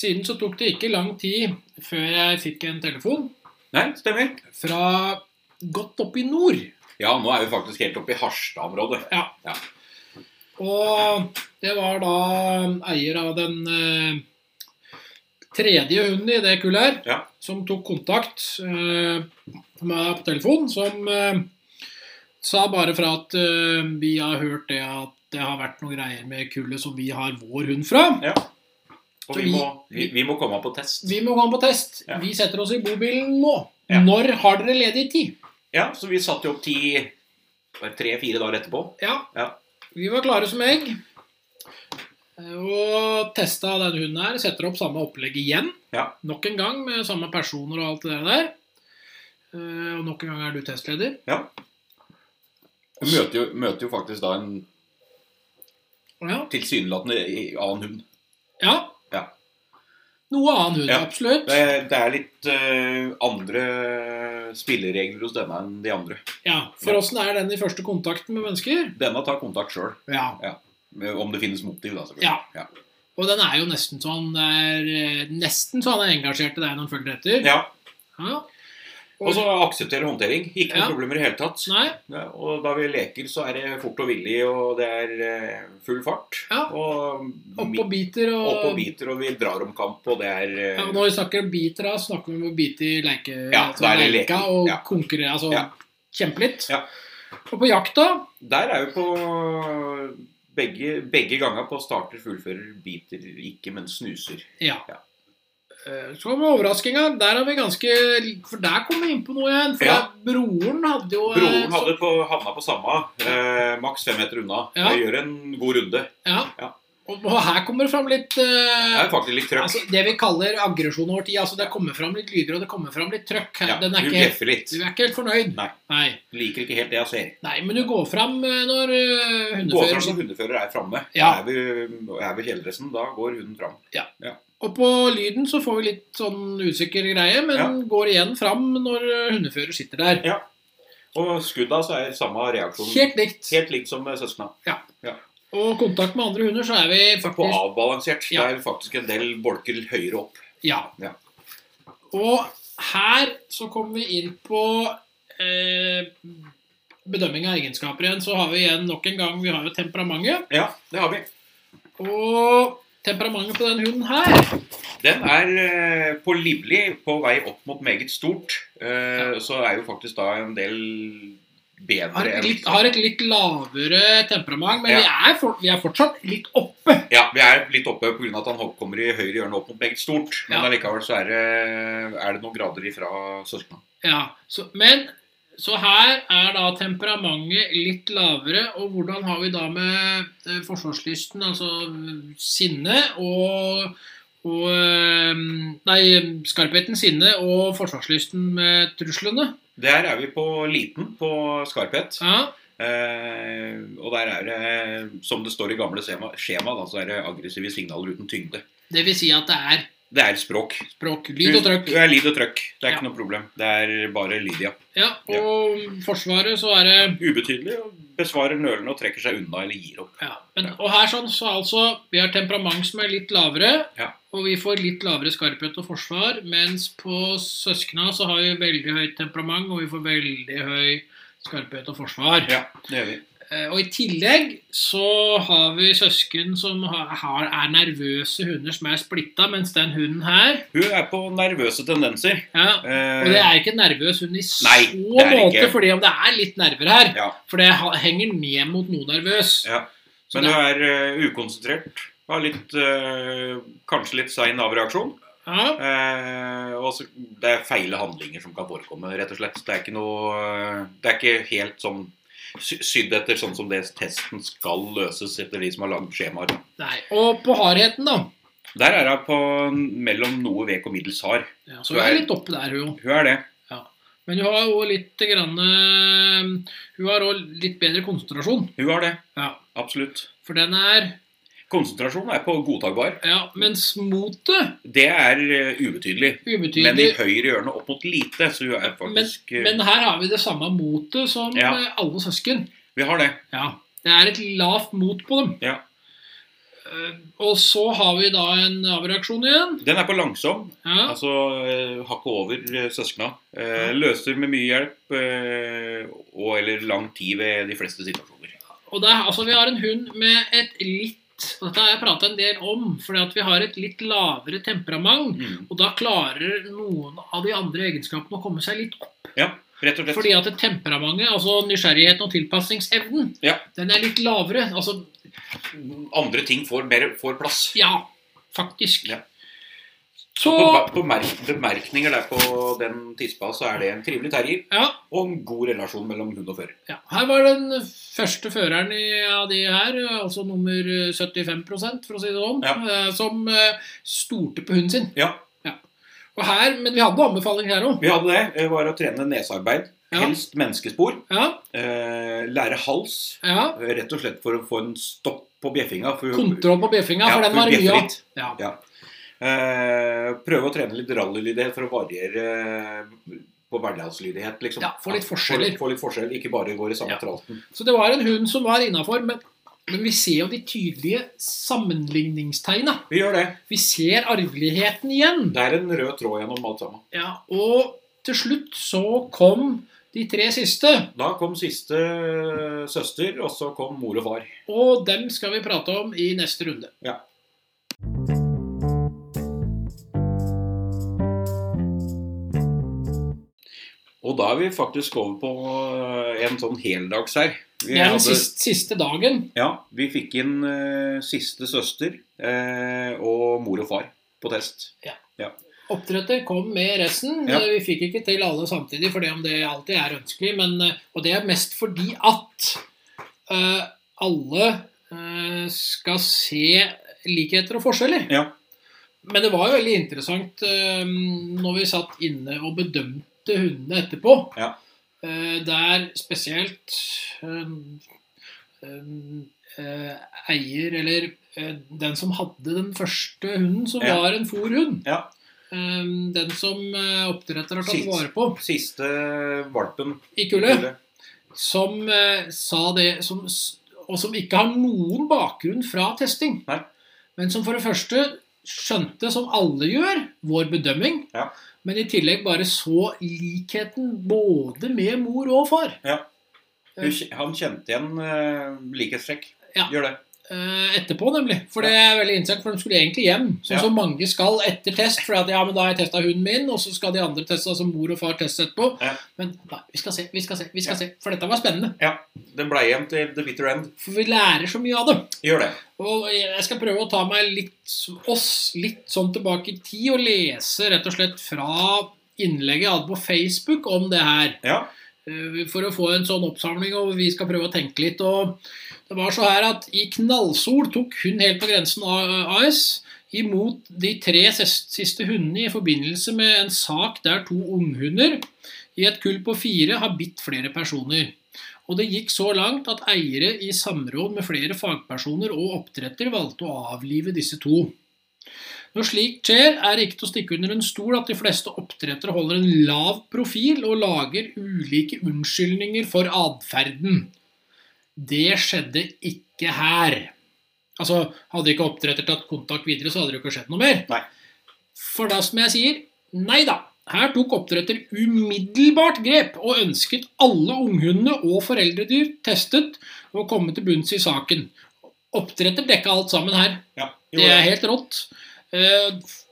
Siden så tok det ikke lang tid før jeg fikk en telefon
Nei, stemmer.
fra godt opp i nord.
Ja, nå er vi faktisk helt oppe i Harstad-området.
Ja.
Ja.
Og det var da eier av den eh, tredje hunden i det kullet her,
Ja.
som tok kontakt eh, med meg på telefon, som eh, sa bare fra at eh, vi har hørt det at det har vært noen greier med kullet som vi har vår hund fra.
Og vi må, vi, vi må komme på test.
Vi må gå an på test.
Ja.
Vi setter oss i bobilen nå.
Ja.
Når har dere ledig tid?
Ja, så vi satte jo opp ti tre-fire dager etterpå.
Ja.
Ja.
Vi var klare som egg. Eh, Og testa den hunden her. Setter opp samme opplegg igjen.
Ja.
Nok en gang med samme personer og alt det der. Eh, Og nok en gang er du testleder.
Vi møter jo, møter jo faktisk da en
Ja.
tilsynelatende i- annen hund.
ja.
Ja.
Noe annen hund,
Ja.
absolutt.
Det, det er litt eh, andre spilleregler hos denne enn de andre.
Ja, For
Ja.
åssen er den i første kontakten med mennesker?
Denne tar kontakt sjøl,
Ja.
om det finnes motiv, da. selvfølgelig.
Ja.
Ja.
Og den er jo nesten så han er, eh, nesten så han er engasjert i deg når han følger etter.
Ja.
Ja.
Og så akseptere håndtering. Ikke noen
Ja.
problemer i hele tatt.
Nei,
Ja, og da vi leker, så er det fort og villig, og det er eh, full fart.
Ja.
Og
opp
mi-
og biter og,
opp og biter, og vi drar om kamp, og det er eh,
Ja, og når vi snakker om biter, da snakker vi om å bite i leike,
Ja,
altså
da er det
leika
leking,
og
ja.
konkurrere, altså
Ja.
kjempe litt.
Ja.
Og på jakt, da?
Der er jo på begge, begge ganger på starter, fullfører, biter ikke, men snuser.
Ja.
Ja.
Eh, Så med overraskinga, der er vi ganske For der kom vi inn på noe igjen. For
Ja.
der- broren hadde jo eh,
Broren hadde på, havna på samme, eh, maks fem meter unna.
Ja.
Og gjør en god runde.
ja.
Ja.
Og, og her kommer det fram litt
Det
eh,
er faktisk litt trøkk.
altså, Det vi kaller aggresjon over tid. Altså, det kommer fram litt lyder, og det kommer fram litt trøkk. Her,
Ja,
den er
hun
ikke, helt-
bjeffer litt.
du er ikke helt fornøyd?
Nei.
Nei.
Liker ikke helt det jeg ser.
Nei, men du går fram eh, når eh,
Gå fram
hundefører
som hundefører er framme.
Ja.
Er vi er vi kjeledressen, da går hunden fram.
Og på lyden så får vi litt sånn usikker greie, men
Ja.
går igjen fram når eh, hundefører sitter der.
Og skudda så er samme reaksjon.
Helt likt.
Helt likt som eh, med søskna.
Og kontakt med andre hunder, så er vi
Og
faktisk
avbalansert.
Ja.
Det er faktisk en del bolker høyere opp.
Ja.
Ja.
Og her så kommer vi inn på eh, bedømming av egenskaper igjen. Så har vi igjen nok en gang Vi har jo temperamentet.
Ja, det har vi.
Og temperamentet på den hunden her
Den er eh, på livlig på vei opp mot meget stort. Eh, Så er jo faktisk da en del
har
bedre
et
enn
litt, har et litt lavere temperament, men
Ja.
vi, er for, vi er fortsatt litt oppe.
Ja, vi er litt oppe pga. at han hop- kommer i høyre hjørne opp mot meget stort. Men
Ja.
allikevel så er det, er det noen grader ifra søskna.
Ja, så, men så her er da temperamentet litt lavere, og hvordan har vi da med eh, forsvarslysten, altså mm, sinne og, og eh, Nei, skarpheten, sinne og forsvarslysten med truslene?
Der er vi på liten, på skarphet.
Ja,
Eh, og der er det, som det står i gamle skjema, skjema da, så er det aggressive signaler uten tyngde.
det vil si at det er
Det er språk.
språk, lyd og trøkk.
Det er lyd og trøkk. Det er
Ja.
ikke noe problem. Det er bare Lydia.
Ja, og Forsvaret så er det
Ubetydelig og besvarer nølende og trekker seg unna eller gir opp.
Ja, men, og her sånn, så altså, Vi har temperament som er litt lavere,
Ja.
og vi får litt lavere skarphet og forsvar. Mens på søskna så har vi veldig høyt temperament, og vi får veldig høy skarphet og forsvar.
Ja, det gjør vi.
Eh, og i tillegg så har vi søsken som har, har, er nervøse hunder som er splitta, mens den hunden her
Hun er på nervøse tendenser.
ja,
Eh,
Og det er ikke en nervøs hund i så
Nei, det er det
måte,
ikke.
fordi om det er litt nerver her.
Ja.
For det ha- henger ned mot noe nervøs.
Ja.
Så
Men
det-
hun er eh, ukonsentrert. Har litt, eh, kanskje litt sein avreaksjon.
ja.
Eh, og så- det er feile handlinger som kan forekomme, rett og slett. Det er ikke noe eh, Det er ikke helt sånn sy- sydd etter sånn som det testen skal løses etter de som har lagd skjemaer.
Nei. Og på hardheten, da.
Der er hun på mellom noe vek og middels hard.
Ja, så hun er litt oppe der, hun.
Hun er det.
Men hun har òg litt grann, eh, Hun har òg litt bedre konsentrasjon.
Hun har det.
Ja.
Absolutt.
For den er
Konsentrasjon er på godtakbar.
Ja, mens motet
Det er eh, ubetydelig. Men i
Ubetydelig.
høyre hjørne opp mot lite, så hun er
Men,
faktisk eh,
men her har vi det samme motet som
Ja.
eh, alle søsken.
Vi har det.
Ja. Det er et lavt mot på dem.
Ja.
Eh, Og så har vi da en avreaksjon igjen.
Den er på langsom.
Ja.
Altså eh, hakket over eh, søskna. Eh, løser med mye hjelp eh, og eller lang tid ved de fleste situasjoner.
Og der, altså, vi har en hund med et litt og Dette har jeg prata en del om, fordi at vi har et litt lavere temperament.
Mm.
Og da klarer noen av de andre egenskapene å komme seg litt opp.
Rett og slett.
Fordi at temperamentet, altså nysgjerrigheten og tilpasningsevnen,
Ja.
den er litt lavere. Altså,
andre ting får, mer, får plass.
Ja, faktisk.
Ja.
Så
På, ba- på merk, bemerkninger der på den tispa, så er det en trivelig terrier
ja,
og en god relasjon mellom hund og fører.
ja, her var den første føreren i- av de her, eh, altså nummer eh, 75 for å si det sånn, eh, som eh, stolte på hunden sin.
Ja.
Og her, Men vi hadde anbefaling her òg.
Vi hadde det. eh, Var å trene nesearbeid.
Ja.
Helst menneskespor.
Ja,
Eh, lære hals.
ja.
Eh, Rett og slett for å få en stopp på bjeffinga. for-
Kontroll på bjeffinga,
Ja,
for den
for
var det mye
bjeffer
av.
litt.
Ja.
Ja. Eh, prøve å trene litt rallylydighet for å variere eh, på hverdagslydighet, liksom.
Ja, få litt forskjeller.
Få, få litt forskjell, ikke bare går i samme
Ja.
tralten.
Så det var en hund som var innafor, men, men vi ser jo de tydelige sammenligningstegna.
Vi gjør det.
Vi ser arveligheten igjen.
Det er en rød tråd gjennom alt sammen.
Ja, og til slutt så kom de tre siste,
Da kom siste eh, søster, og så kom mor og far.
og dem skal vi prate om i neste runde.
Ja. Og da er vi faktisk over på eh, en sånn heldags her. Vi
Det er den
hadde-
siste, siste dagen.
Ja, vi fikk inn eh, siste søster eh, og mor og far på test.
Oppdretter kom med resten.
Ja.
Vi fikk ikke til alle samtidig, fordi om det alltid er ønskelig. Men, eh, og det er mest fordi at eh, alle eh, skal se likheter og forskjeller.
Ja.
Men det var jo veldig interessant eh, når vi satt inne og bedømte hundene etterpå.
Ja.
Eh, der spesielt eh, eh, eh, eier, eller eh, den som hadde den første hunden, som
Ja.
var en fòrhund.
Ja.
Ehm, den som eh, oppdretter har tatt
Sist.
vare på
Siste valpen.
i kullet, som eh, sa det som, s- Og som ikke har noen bakgrunn fra testing.
Nei.
Men som for det første skjønte, som alle gjør, vår bedømming.
Ja.
Men i tillegg bare så likheten både med mor og far.
Hun kj- Han kjente igjen eh, likhetstrekk.
Ja.
Gjør det.
Eh, etterpå, nemlig. For det er veldig interessant, for de skulle egentlig hjem. Sånn
Ja.
som mange skal etter test. For at, ja, men da har jeg testa hunden min, og så skal de andre teste, altså mor og far teste etterpå.
Ja.
Men nei, vi skal se, vi skal se, vi skal se. For dette var spennende.
Den blei igjen til the bitter end.
For vi lærer så mye av det.
Gjør det.
Og jeg skal prøve å ta meg litt, oss litt sånn tilbake i tid, og lese rett og slett fra innlegget jeg hadde på Facebook om det her.
Ja.
Eh, for å få en sånn oppsamling, og vi skal prøve å tenke litt. Og det var så her at i knallsol tok hun helt på grensen av AS imot de tre ses- siste hundene i forbindelse med en sak der to unghunder i et kull på fire har bitt flere personer. Og det gikk så langt at eiere i samråd med flere fagpersoner og oppdretter valgte å avlive disse to. Når slikt skjer, er det ikke til å stikke under en stol at de fleste oppdrettere holder en lav profil og lager ulike unnskyldninger for atferden. Det skjedde ikke her. Altså, Hadde ikke oppdretter tatt kontakt videre, så hadde det jo ikke skjedd noe mer.
Nei.
For da, som jeg sier, nei da. Her tok oppdretter umiddelbart grep og ønsket alle unghundene og foreldredyr testet og komme til bunns i saken. Oppdretter dekka alt sammen her.
Ja.
Det
Gjorde
er helt rått. Eh,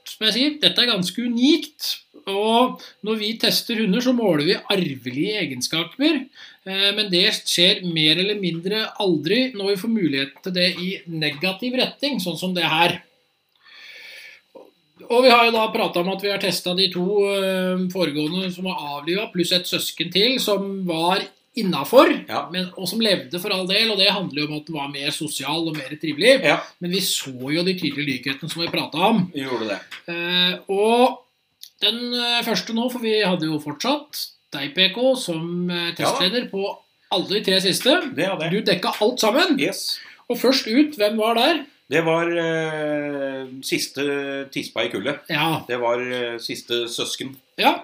som jeg sier, dette er ganske unikt. Og når vi tester hunder, så måler vi arvelige egenskaper. Eh, men det skjer mer eller mindre aldri når vi får muligheten til det i negativ retning, sånn som det her. Og vi har jo da prata om at vi har testa de to eh, foregående som var avliva, pluss et søsken til som var innafor,
Ja.
og som levde for all del. Og det handler jo om at den var mer sosial og mer trivelig.
Ja,
Men vi så jo de tydelige likhetene som vi prata om.
gjorde det.
Eh, og den eh, første nå, for vi hadde jo fortsatt deg, PK, som eh, testleder på alle de tre siste.
Det hadde
Du
jeg.
dekka alt sammen.
Yes.
Og først ut, hvem var der?
Det var eh, siste tispa i kullet.
Ja.
Det var eh, siste søsken.
ja.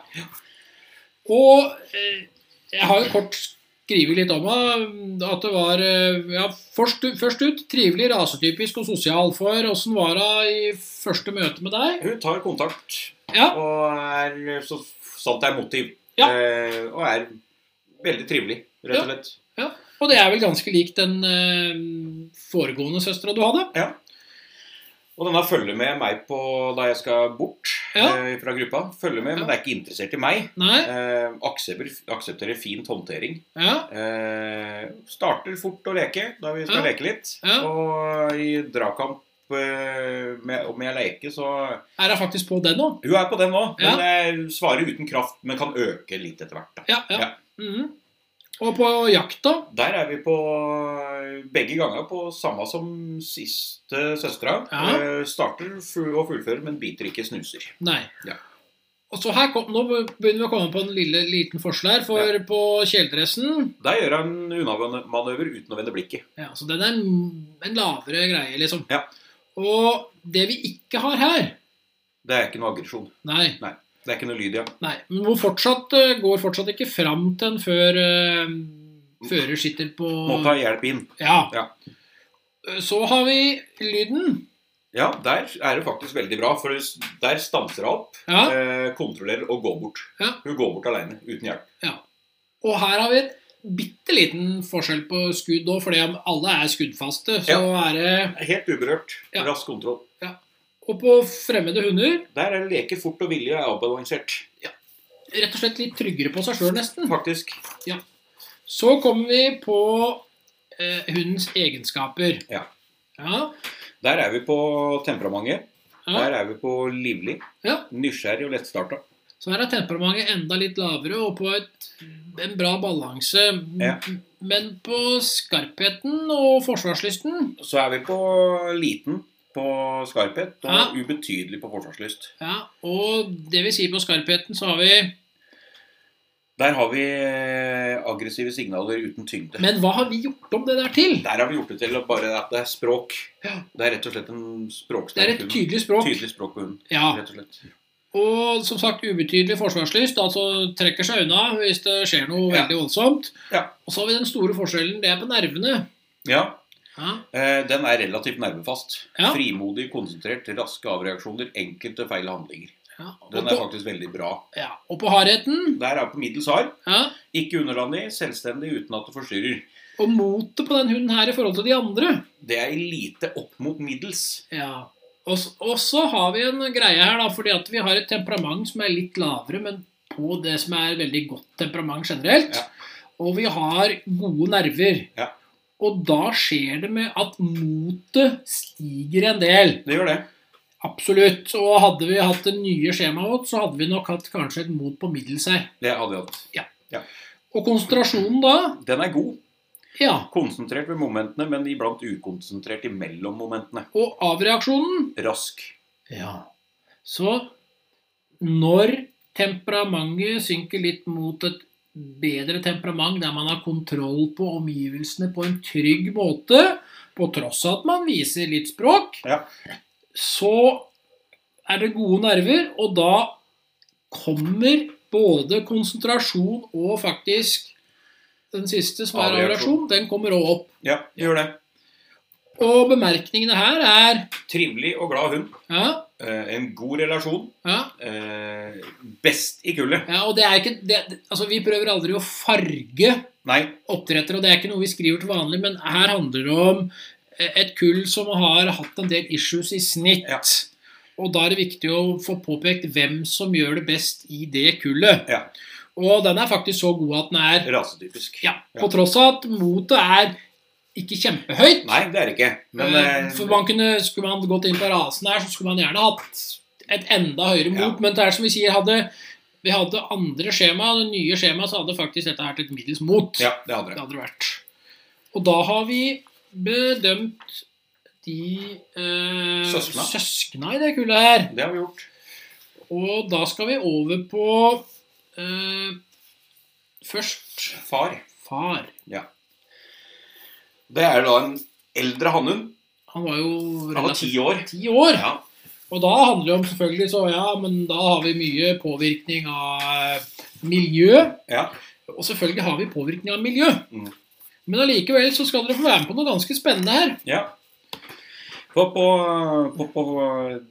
Og eh, jeg har jo kort skrevet litt om det, at det var eh, ja, først, først ut trivelig, rasetypisk og sosial. For åssen var hun i første møte med deg?
Hun tar kontakt
Ja.
og er så sant det er motiv.
Ja.
Eh, og er veldig trivelig, rett og slett.
Ja, Og det er vel ganske lik den eh, foregående søstera du hadde?
Ja. Og denne følger med meg på da jeg skal bort
Ja.
eh, fra gruppa. Følger med,
Ja.
men det er ikke interessert i meg.
Nei?
Eh, aksepter, aksepterer fint håndtering.
Ja?
Eh, starter fort å leke da vi skal
Ja.
leke litt.
Ja.
Og i dragkamp eh, med, om jeg leker, så
Er hun faktisk på den nå?
Hun er på den nå,
Ja.
men jeg svarer uten kraft, men kan øke litt etter hvert. da.
Ja. ja.
Ja.
Mhm. Og på jakt, da?
Der er vi på begge ganger på samme som siste søstera.
Ja.
Eh, starter fu- og fullfører, men biter ikke snuser.
Nei.
Ja.
Og så her kom, Nå begynner vi å komme på en lille, liten forskjell her, for på kjeledressen
Der gjør han unnamanøver uten å vende blikket.
ja, så Den er en lavere greie, liksom.
Ja.
Og det vi ikke har her
Det er ikke noe aggresjon.
Nei.
Det er ikke noe lyd, ja.
nei men hun fortsatt, eh, går fortsatt ikke fram til en før eh, fører sitter på
Må ta hjelp inn.
ja.
Ja.
Så har vi lyden.
Ja, der er det faktisk veldig bra, for der stanser hun opp,
Ja.
eh, kontrollerer og går bort.
Ja.
Hun går bort aleine, uten hjelp.
Og her har vi en bitte liten forskjell på skudd òg, fordi om alle er skuddfaste, så er det
Helt uberørt.
Ja.
Rask kontroll.
Og på fremmede hunder
Der er det leke fort og vilje er avbalansert,
rett og slett litt tryggere på seg sjøl, nesten.
faktisk.
Så kommer vi på eh, hundens egenskaper.
Ja.
Ja,
Der er vi på temperamentet.
ja.
Der er vi på livlig,
Ja.
nysgjerrig og lettstarta.
Så her er temperamentet enda litt lavere og på et, en bra balanse.
Ja.
Men på skarpheten og forsvarslysten
Så er vi på liten på skarphet og
Ja.
ubetydelig på forsvarslyst.
ja, Og det vi sier på skarpheten, så har vi
Der har vi eh, aggressive signaler uten tyngde.
Men hva har vi gjort om det der til?
Der har vi gjort det til bare at det er språk.
Ja.
Det er rett og slett en
Det er
språksterk
et
hund.
tydelig språk.
Tydelig språk på hunden,
Ja.
rett og slett.
Og som sagt, ubetydelig forsvarslyst, altså trekker seg unna hvis det skjer noe
Ja.
veldig voldsomt.
Ja.
Og så har vi den store forskjellen, det er på nervene.
Ja,
Ja,
eh, den er relativt nervefast.
Ja.
Frimodig, konsentrert, raske avreaksjoner, enkelte feil handlinger.
ja. Og,
Den er
på,
faktisk veldig bra.
ja. og på hardheten,
Der er på middels hard.
ja.
Ikke underlandig, selvstendig uten at det forstyrrer.
og motet på den hunden her i forhold til de andre.
Det er lite opp mot middels.
Ja. Og, s- og så har vi en greie her, da, fordi at vi har et temperament som er litt lavere, men på det som er veldig godt temperament generelt.
Ja.
Og vi har gode nerver.
Ja.
Og da skjer det med at motet stiger en del.
Det gjør det.
Absolutt. Og hadde vi hatt det nye skjemaet vårt, så hadde vi nok hatt kanskje et mot på middels her.
Det hadde jeg hatt.
Og konsentrasjonen da?
Den er god.
Ja.
Konsentrert ved momentene, men iblant ukonsentrert imellom momentene.
Og avreaksjonen?
Rask.
Ja. Så når temperamentet synker litt mot et bedre temperament, der man har kontroll på omgivelsene på en trygg måte, på tross av at man viser litt språk,
Ja.
så er det gode nerver, og da kommer både konsentrasjon og faktisk den siste, som er
Avreaksjon.
avreaksjon, den kommer òg opp.
Ja, det gjør det.
Og bemerkningene her er
Trivelig og glad hund.
ja,
Eh, en god relasjon.
ja,
Eh, best i kullet.
ja, og det er ikke det, Altså, vi prøver aldri å farge
Nei,
oppdrettere, og det er ikke noe vi skriver til vanlig, men her handler det om eh, et kull som har hatt en del issues i snitt.
Ja.
Og da er det viktig å få påpekt hvem som gjør det best i det kullet.
Ja.
Og den er faktisk så god at den er
rasetypisk.
ja, På tross av at motet er ikke kjempehøyt.
Nei, det er det ikke. Men
Eh,
eh,
For man kunne, Skulle man gått inn på rasen her, så skulle man gjerne hatt et enda høyere
Ja.
mot. Men det er som vi sier, hadde vi hadde andre skjema, det nye skjemaet, så hadde faktisk dette her til et middels mot.
ja, det hadde
Det
det.
hadde det vært. Og da har vi bedømt de eh,
Søskna.
søskna i det kullet her.
Det har vi gjort.
Og da skal vi over på eh, først
Far.
far.
Det er da en eldre hannhund.
Han var jo
Han var ti år.
ti år.
Ja.
Og da handler det om selvfølgelig så ja, men da har vi mye påvirkning av eh, miljø.
Ja.
Og selvfølgelig har vi påvirkning av miljø.
Mm.
Men allikevel så skal dere få være med på noe ganske spennende her.
Ja. På, på, på, på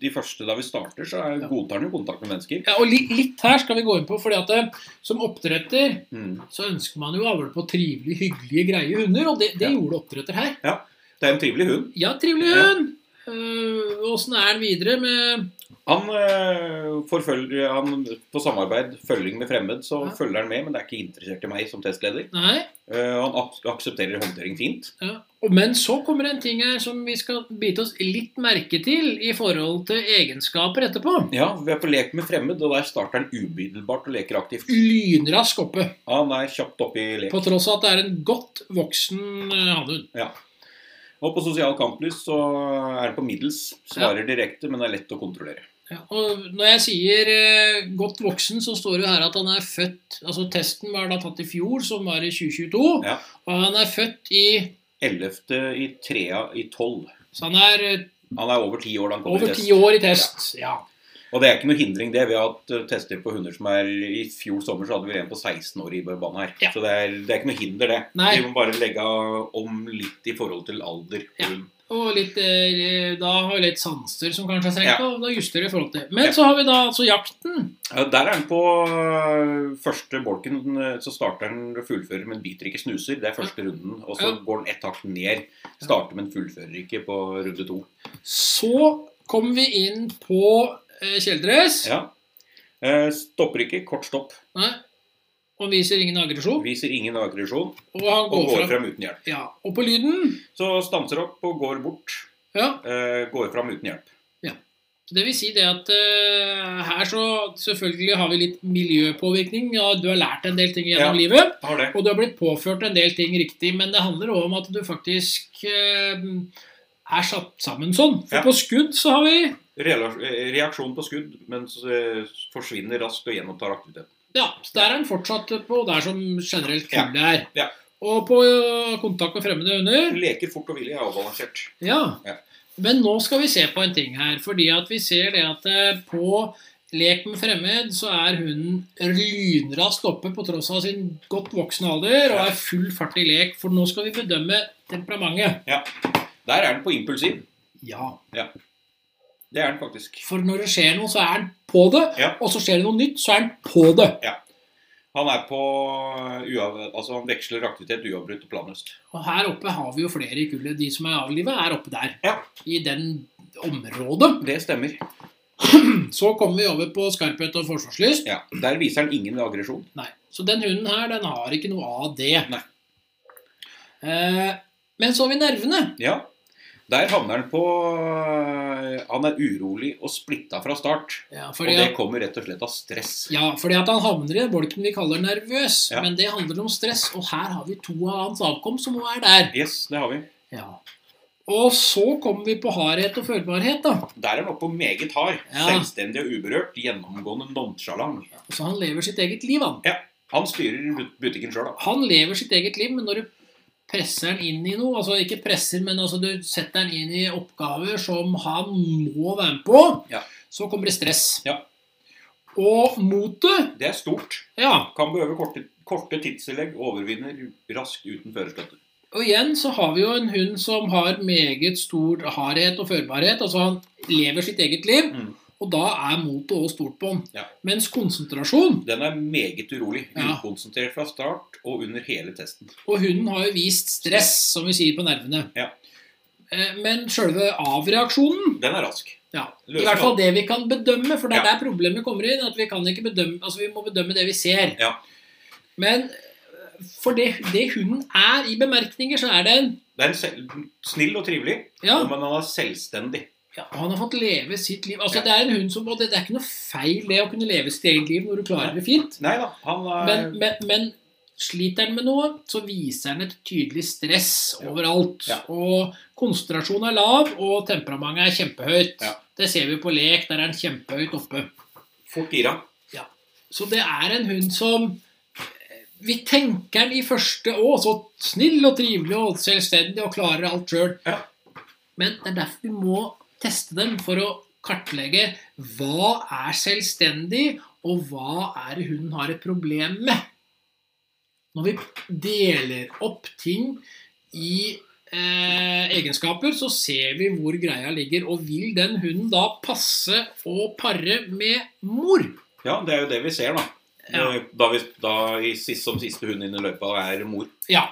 de første da vi starter, så er,
Ja.
godtar han jo kontakt med mennesker.
Ja, og litt, litt her skal vi gå inn på, fordi at eh, som oppdretter
Mm.
så ønsker man jo avl på trivelige, hyggelige, greie hunder, og det, det
Ja.
gjorde oppdretter her.
Det er en trivelig hund.
Ja, trivelig
Ja.
hund! Eh, Åssen er han videre med
Han, eh, forfølger, han på samarbeid, følging med fremmed, så
Ja.
følger han med, men det er ikke interessert i meg som testleder.
Nei.
Eh, han ak- aksepterer håndtering fint.
Ja. Og- Men så kommer det en ting her som vi skal bite oss litt merke til i forhold til egenskaper etterpå.
Ja, vi er på lek med fremmed, og der starter han umiddelbart og leker aktivt.
Lynrask oppe.
Han er kjapt oppe i lek.
På tross av at det er en godt voksen eh, hannhund.
Og på sosial kamplys så er han på middels, svarer direkte, men er lett å kontrollere.
Ja, og når jeg sier eh, godt voksen, så står det jo her at han er født Altså testen var da tatt i fjor, som var i 2022.
Ja.
Og han er født i
11. i 3. i 12.
Så han er eh,
Han er over ti år da han kommer
over
i
ti
test.
år i test. Ja.
Og det er ikke noe hindring, det. Vi har hatt eh, tester på hunder som er I fjor sommer så hadde vi en på 16 år i banen her.
Ja.
Så det er, det er ikke noe hinder, det.
Nei.
Vi må bare legge om litt i forhold til alder.
Ja.
Hund.
Og litt, eh, da har vi litt sanser som kanskje er senka,
Ja.
og da justerer vi i forhold til det. Men
Ja.
så har vi da altså jakten.
Ja, der er han på eh, første bolken. eh, Så starter han og fullfører, men biter ikke snuser. Det er første runden. Og så
Ja.
går han ett hakk ned. Starter, men fullfører ikke på runde to.
Så kommer vi inn på eh, kjeledress.
Ja. Eh, Stopper ikke. Kort stopp.
Nei. Og viser ingen aggresjon.
Viser ingen aggresjon.
Og han
Og
går
går
fra.
fram uten hjelp.
Ja. Og på lyden
Så stanser opp og går bort.
Ja.
eh, Går fram uten hjelp.
Det vil si det at eh, her så selvfølgelig har vi litt miljøpåvirkning. og Du har lært en del ting gjennom livet,
Har det.
og du har blitt påført en del ting riktig. Men det handler også om at du faktisk eh, er satt sammen sånn. For
Ja.
på skudd så har vi
Rela- eh, Reaksjon på skudd, men så, eh, forsvinner raskt og gjenopptar aktiviteten.
Ja, så der er den fortsatt på der som generelt kullet er.
Ja.
Og på eh, kontakt med fremmede hunder
Leker fort og villig er avbalansert.
Ja.
Ja.
Men nå skal vi se på en ting her. Fordi at vi ser det at eh, på lek med fremmed så er hunden lynraskt oppe på tross av sin godt voksne alder og
Ja.
er full fart i lek. For nå skal vi bedømme temperamentet.
Der er den på impulsiv.
Ja.
Det er den faktisk.
For når det skjer noe, så er den på det.
Ja.
Og så skjer det noe nytt, så er den på det.
Han er på uav... Altså, han veksler aktivitet uavbrutt og planløst.
Og her oppe har vi jo flere i kullet. De som er avlivet, er oppe der.
Ja.
I den området.
Det stemmer.
Så kommer vi over på skarphet og forsvarslyst.
Ja. Der viser han ingen aggresjon.
Nei. Så den hunden her, den har ikke noe av det.
Nei.
Eh, men så har vi nervene.
Ja. Der havner han på eh, Han er urolig og splitta fra start.
Ja,
Og
fordi,
det
at,
kommer rett og slett av stress.
ja, fordi at han havner i den bolken vi kaller nervøs.
Ja.
Men det handler om stress, og her har vi to av hans avkom som også er der.
Yes, det har vi.
Ja. Og så kommer vi på hardhet og følbarhet, da.
Der er han oppe på meget hard.
Ja.
Selvstendig og uberørt. Gjennomgående nonchalant.
Så han lever sitt eget liv, han.
Han styrer but- butikken sjøl, da.
Han lever sitt eget liv, men når du presser han inn i noe, altså ikke presser, men altså du setter han inn i oppgaver som han må være med på,
Ja.
så kommer det stress.
Ja.
Og motet,
Det er stort.
ja,
Kan behøve korte, korte tidstillegg, overvinner raskt uten førerstøtte.
og igjen så har vi jo en hund som har meget stor hardhet og førbarhet, altså han lever sitt eget liv,
Mm.
og da er motet også stort på han.
Ja.
Mens konsentrasjon,
Den er meget urolig,
Ja.
ukonsentrert fra start og under hele testen.
og hunden har jo vist stress, som vi sier på nervene.
Ja.
Eh, Men selve avreaksjonen,
Den er rask.
Ja,
Løser
I hvert fall
alt.
det vi kan bedømme, for det er
Ja.
der problemet kommer inn. at Vi kan ikke bedømme, altså vi må bedømme det vi ser.
Ja.
Men eh, for det, det hunden er i bemerkninger, så er det en
Det er en sel- snill og trivelig,
ja,
men han er selvstendig.
ja, Han har fått leve sitt liv. altså
Ja.
Det er en hund som, og det, det er ikke noe feil det å kunne leve sitt eget liv når du klarer det fint.
Nei da, han er
Men, men, men sliter han med noe, så viser han et tydelig stress
Ja.
overalt.
Ja.
Og konsentrasjonen er lav, og temperamentet er kjempehøyt.
Ja.
Det ser vi på lek. Der er han kjempehøyt oppe.
fort gira.
Så det er en hund som eh, vi tenker den i første Å, så snill og trivelig og selvstendig og klarer alt sjøl.
Ja.
Men det er derfor vi må teste dem, for å kartlegge hva er selvstendig, og hva er det hunden har et problem med. Når vi deler opp ting i eh, egenskaper, så ser vi hvor greia ligger. Og vil den hunden da passe og pare med mor?
Ja, det er jo det vi ser, da.
Ja.
Da, vi, da i, sist, som siste hund inn i løypa er mor.
Ja.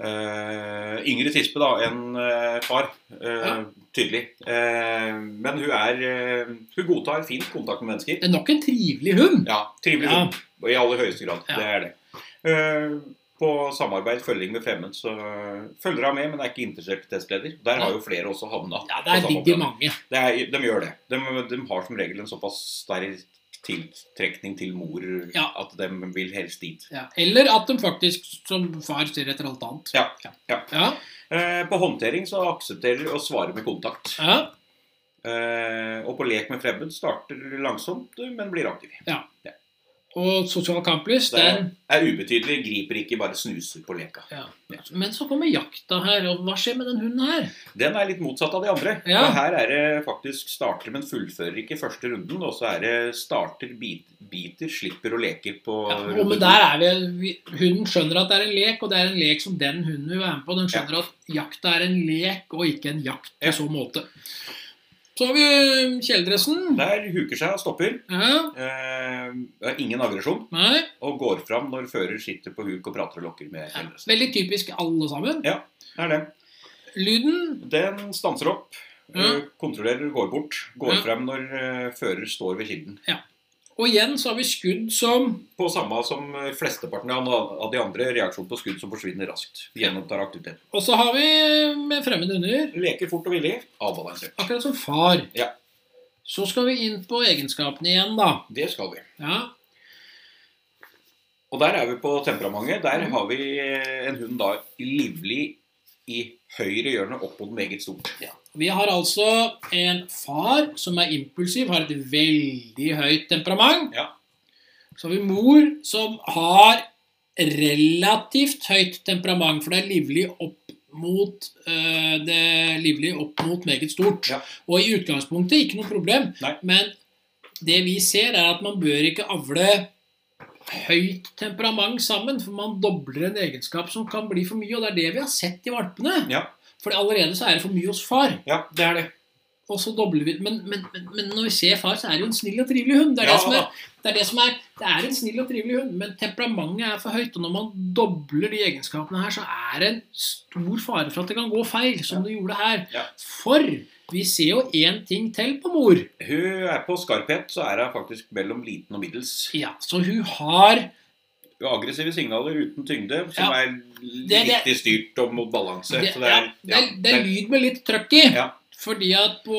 Eh, yngre tispe da enn eh, far. Eh,
Ja.
Tydelig. Eh, men hun er eh, Hun godtar fint kontakt med mennesker.
Det er nok en trivelig hund.
Ja, Trivelig
Ja.
hund. I aller høyeste grad.
Ja.
Det er det. Eh, på samarbeid, følging med fremmed, så følger hun med, men er ikke interessert i testleder. Der har jo flere også havna.
Ja,
på
der
samme
ligger
plan.
mange.
Det er, de gjør det. De, de har som regel en såpass sterk tiltrekning til mor
Ja.
at de vil helst dit.
Ja. Eller at de faktisk, som far, ser etter alt annet.
Ja, ja.
Ja,
Eh, på håndtering så aksepterer de å svare med kontakt.
ja.
Eh, og på lek med fremmed starter langsomt, men blir aktiv.
Og sosial kamplyst,
Det
den
Er ubetydelig, griper ikke, bare snuser på leka.
ja. Men så kommer jakta her, og hva skjer med den hunden her?
Den er litt motsatt av de andre.
Ja.
For Her er det faktisk starter, men fullfører ikke første runden. Og så er det starter, bit, biter, slipper og leker på
Ja,
runde
og
to.
men der er vi, vi, Hunden skjønner at det er en lek, og det er en lek som den hunden vil være med på. Den skjønner at jakta er en lek, og ikke en jakt i
Ja.
så måte. Så har vi um, kjeledressen.
Der huker seg og stopper.
Ja,
Eh, det er ingen aggresjon.
nei,
Og går fram når fører sitter på huk og prater og lokker med
ja.
kjendis.
Veldig typisk alle sammen.
Det er det.
Lyden
Den stanser opp,
Ja.
øh, kontrollerer, går bort. Går
Ja.
frem når øh, fører står ved kilden.
Og igjen så har vi skudd som
På samme som øh, flesteparten av av de andre reaksjon på skudd som forsvinner raskt. Gjenopptar aktiviteten.
Og så har vi med fremmede hunder,
Leker fort og villig. Avbalansert.
akkurat som far.
Ja.
Så skal vi inn på egenskapene igjen, da.
Det skal vi.
Ja,
Og der er vi på temperamentet. Der
Mhm.
har vi øh, en hund da livlig i høyre hjørne oppå den eget stort.
Vi har altså en far som er impulsiv, har et veldig høyt temperament.
Ja.
Så har vi mor som har relativt høyt temperament, for det er livlig opp mot eh, det er livlig opp mot meget stort.
Ja.
Og i utgangspunktet ikke noe problem,
Nei.
men det vi ser, er at man bør ikke avle høyt temperament sammen, for man dobler en egenskap som kan bli for mye, og det er det vi har sett i valpene.
Ja.
For allerede så er det for mye hos far.
Ja, det er det.
Og så dobler vi men, men, men, men når vi ser far, så er det jo en snill og trivelig hund. Det er,
Ja,
det, som er, det er det som er Det er en snill og trivelig hund, men temperamentet er for høyt. Og når man dobler de egenskapene her, så er det en stor fare for at det kan gå feil, som det gjorde her.
Ja.
For vi ser jo én ting til på mor.
Hun er på skarphet, så er hun faktisk mellom liten og middels.
Ja, Så hun har
aggressive signaler uten tyngde, som
Ja.
er
det-
riktig styrt og mot balanse.
Det,
så
ja, det, er, det er lyd med litt trøkk i.
Ja.
Fordi at på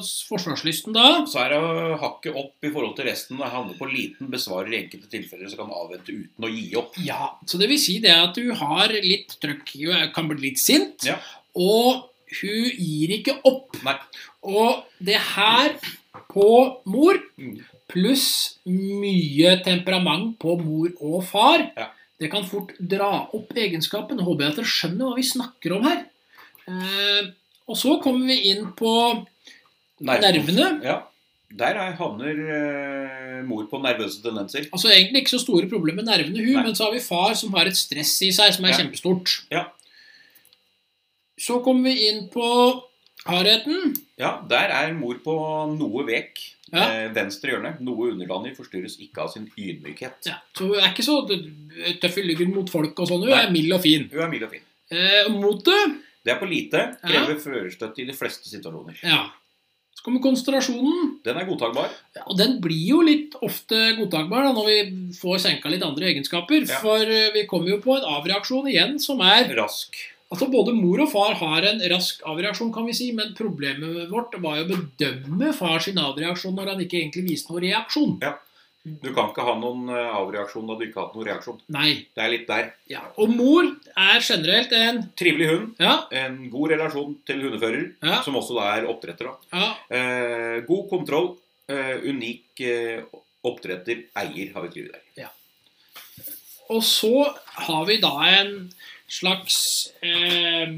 s- forsvarslysten da
så er det å hakke opp i forhold til resten. Det handler på liten, besvarer i enkelte tilfeller, så kan avvente uten å gi opp.
Ja, så det vil si det at hun har litt trøkk, hun er- kan bli litt sint,
Ja.
og hun gir ikke opp.
Nei.
Og det her på mor,
Mm.
pluss mye temperament på mor og far,
Ja.
det kan fort dra opp egenskapen. Jeg håper jeg at dere skjønner hva vi snakker om her. Eh, og så kommer vi inn på nervene.
Ja. Der er, havner eh, mor på nervøse tendenser.
Altså Egentlig ikke så store problemer med nervene, hun,
Nei.
men så har vi far som har et stress i seg som er
Ja.
kjempestort.
Ja.
Så kommer vi inn på hardheten.
Ja, der er mor på noe vek.
Ja.
Eh, venstre hjørne. Noe underlandig forstyrres ikke av sin ydmykhet.
Ja. Så hun er ikke så tøff i lyggen mot folk og sånn. Hun
Nei.
er mild og fin.
Hun er mild og fin.
Eh, og motet
Det er på lite.
Ja.
Krever førerstøtte i de fleste situasjoner.
Ja. Så kommer konsentrasjonen.
Den er godtakbar.
Ja, Og den blir jo litt ofte godtakbar da, når vi får senka litt andre egenskaper.
Ja.
For eh, vi kommer jo på en avreaksjon igjen som er
Rask.
Altså Både mor og far har en rask avreaksjon, kan vi si, men problemet vårt var jo å bedømme far sin avreaksjon når han ikke egentlig viste noen reaksjon.
Du kan ikke ha noen eh, avreaksjon da du ikke har hatt noen reaksjon.
Nei.
Det er litt der.
Ja. Og mor er generelt en
Trivelig hund.
Ja,
En god relasjon til hundefører,
ja,
som også da er oppdretter. da.
ja.
Eh, god kontroll. Eh, unik eh, oppdretter. Eier har vi skrevet der.
Og så har vi da en slags eh,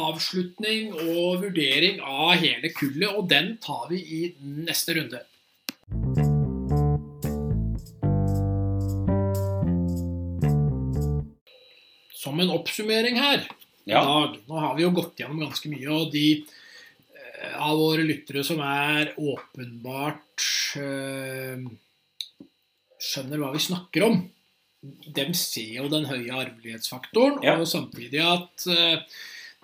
avslutning og vurdering av hele kullet, og den tar vi i neste runde. Som en oppsummering her i
Ja.
dag. Nå har vi jo gått gjennom ganske mye, og de eh, av våre lyttere som er åpenbart eh, skjønner hva vi snakker om, de ser jo den høye arvelighetsfaktoren,
Ja.
og samtidig at eh,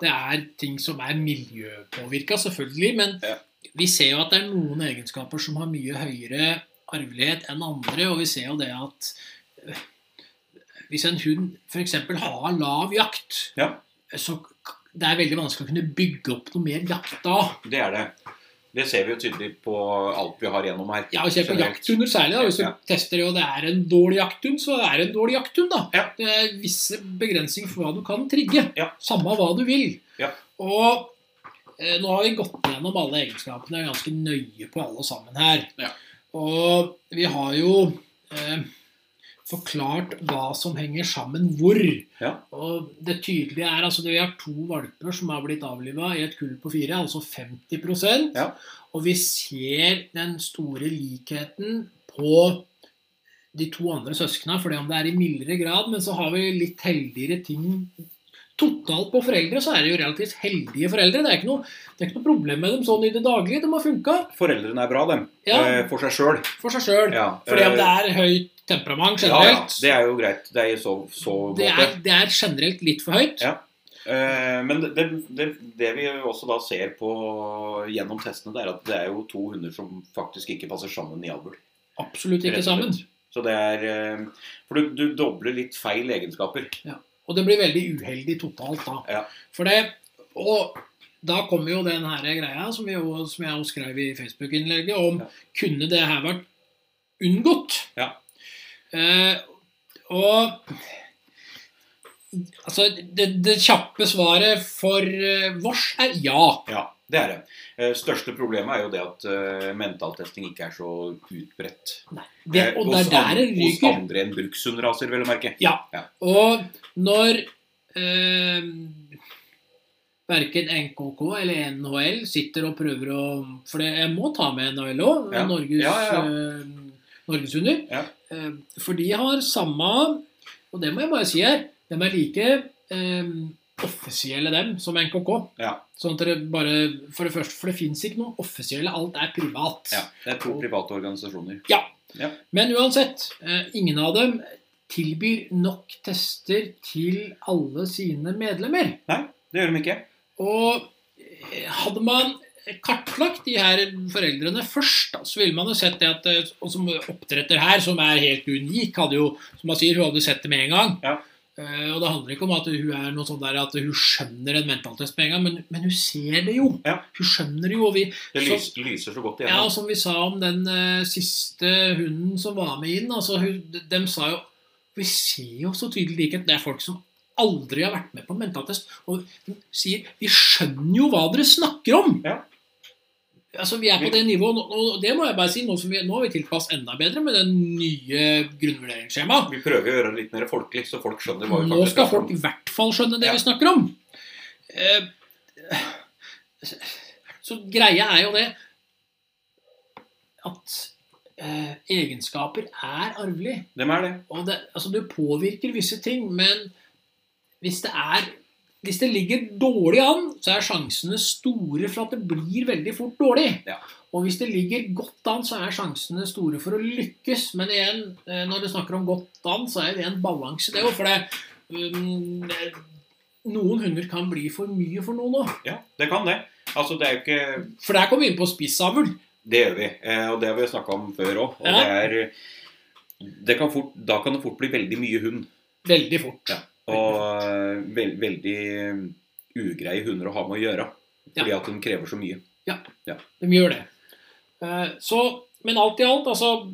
det er ting som er miljøpåvirka, selvfølgelig. Men
Ja.
vi ser jo at det er noen egenskaper som har mye høyere arvelighet enn andre, og vi ser jo det at eh, hvis en hund f.eks. har lav jakt,
Ja.
så k- det er veldig vanskelig å kunne bygge opp noe mer jakt da.
Det er det. Det ser vi jo tydelig på alt vi har gjennom her.
Ja, hvis jeg er på
Generelt.
jakthunder særlig, da, hvis du
Ja.
tester det og det er en dårlig jakthund, så er det en dårlig jakthund, da.
Ja.
Det er visse begrensninger for hva du kan trigge.
Ja.
Samme hva du vil.
Ja.
Og eh, nå har vi gått gjennom alle egenskapene ganske nøye på alle sammen her.
Ja.
Og vi har jo eh, forklart hva som henger sammen hvor.
Ja.
Og det tydelige er altså vi har to valper som har blitt avliva i et kull på fire, altså 50
Ja.
Og vi ser den store likheten på de to andre søsknene, for om det er i mildere grad, men så har vi litt heldigere ting Totalt på foreldre så er det jo relativt heldige foreldre. Det er ikke noe, det er ikke noe problem med dem sånn i det daglige. De har funka
Foreldrene er bra, dem.
Ja.
Eh, For seg sjøl.
for seg sjøl.
Ja.
Fordi om det
Eh,
er høyt temperament
ja, ja,
generelt,
det er jo greit. Det er i så, så
det,
måte.
er, det er generelt litt for høyt.
Ja. Eh, Men det, det, det vi også da ser på gjennom testene, det er at det er jo to hunder som faktisk ikke passer sammen i avl.
Absolutt
Rett og
ikke sammen.
Så det er eh, For du, du dobler litt feil egenskaper.
Og det blir veldig uheldig totalt da.
Ja.
For det, og da kommer jo den her greia som, vi, jo- som jeg også skrev i Facebook-innlegget om
Ja.
kunne det her vært unngått?
Ja.
Eh, og altså, det, det kjappe svaret for eh, vårs er ja.
Ja, det er det. Eh, Største problemet er jo det at eh, mentaltesting ikke er så utbredt.
Det,
Eh,
og
hos
det er der det
an- Hos
ryker.
andre enn brukshundraser, vel å merke.
Og når eh, verken NKK eller NHL sitter og prøver å For det- jeg må ta med NHL òg,
Ja.
Norges,
Ja, ja,
eh, Norgeshunder.
Ja.
Eh, for de har samme Og det må jeg bare si her. De er like eh, offisielle, dem, som NKK.
Ja.
Sånn at dere bare, For det første, for det fins ikke noe offisielle. Alt er privat.
Ja, det er to private organisasjoner.
Men uansett, eh, ingen av dem tilbyr nok tester til alle sine medlemmer.
Det gjør de ikke.
Og eh, hadde man kartlagt de her foreldrene først, da, så ville man jo sett det at eh, Og som oppdretter her, som er helt unik, hadde jo, som man sier, hun hadde sett det med en gang.
Ja.
Eh, og det handler ikke om at hun er noe sånn der at hun skjønner en mentaltest med en gang, men, men hun ser det jo.
Ja.
Hun skjønner det jo. Og vi,
Det
Så-
lys, lyser så godt
ja, og
igjennom.
som vi sa om den eh, siste hunden som var med inn, altså hun, de, dem sa jo Vi ser jo så tydelig likhet. Det er folk som aldri har vært med på mentaltest, og de sier Vi skjønner jo hva dere snakker om!
Ja.
Altså, Vi er på det nivået, nå- og det må jeg bare si, nå, som vi, nå har vi tilpasset enda bedre med det nye grunnvurderingsskjemaet.
Vi prøver å gjøre det litt mer folkelig, så folk skjønner hva vi
Nå skal
snakker om.
folk i hvert fall skjønne det
Ja.
vi snakker om. Eh, Så greia er jo det at eh, egenskaper er arvelig.
Dem er det.
Og det, altså, du påvirker visse ting, men hvis det er hvis det ligger dårlig an, så er sjansene store for at det blir veldig fort dårlig.
Ja.
Og hvis det ligger godt an, så er sjansene store for å lykkes. Men igjen, eh, når du snakker om godt an, så er det en balanse, det òg. For det, um, det- noen hunder kan bli for mye for noen òg.
Ja, det kan det. Altså, det er jo ikke
For der kommer vi inn på spissavl.
Det gjør vi, eh, og det har vi snakka om før òg. Og
Ja.
det er det kan fort, Da kan det fort bli veldig mye hund.
Veldig fort.
Ja. Og eh, vel, veldig eh, ugreie hunder å ha med å gjøre.
Ja.
Fordi at de krever så mye.
De gjør det. Eh, Så, men alt i alt, altså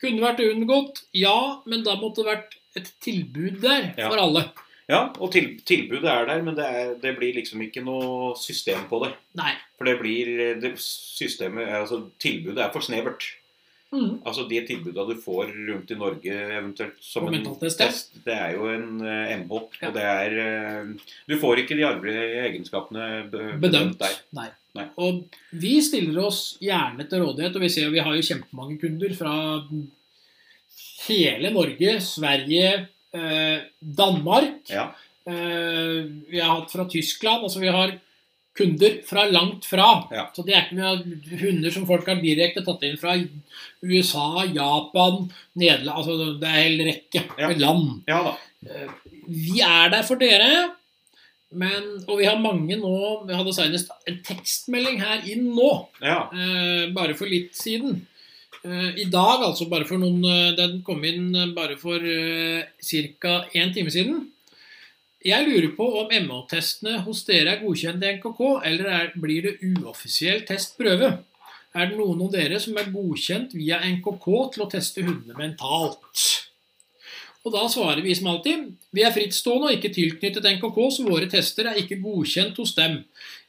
Kunne vært unngått, ja, men da måtte det vært et tilbud der
Ja.
for alle.
Ja, og til, tilbudet er der, men det, er, det blir liksom ikke noe system på det.
Nei.
For det blir det systemet, altså Tilbudet er for snevert.
Mhm.
Altså De tilbudene du får rundt i Norge eventuelt som
Og
en
mentaltest, ja.
test, det er jo en eh, MH.
Ja.
Og det er eh, Du får ikke de arvelige egenskapene be-
Bedømt.
der.
Nei.
Nei.
Og vi stiller oss gjerne til rådighet, og vi ser jo vi har jo kjempemange kunder fra hele Norge, Sverige, eh, Danmark.
Ja.
Eh, vi har hatt fra Tyskland. Altså vi har kunder fra langt fra.
Ja.
Så det er ikke mye hunder som folk har direkte tatt inn fra USA, Japan, Nederland altså Det er en hel rekke
Ja.
med land.
Ja da.
Eh, Vi er der for dere, men, og vi har mange nå Vi hadde senest en tekstmelding her inn nå,
Ja.
eh, bare for litt siden. Eh, I dag, altså bare for noen eh, Den kom inn eh, bare for eh, ca. én time siden. Jeg lurer på om MH-testene hos dere er godkjent i NKK, eller er, blir det uoffisiell testprøve? Er det noen av dere som er godkjent via NKK til å teste hundene mentalt? Og da svarer vi som alltid vi er frittstående og ikke tilknyttet NKK, så våre tester er ikke godkjent hos dem.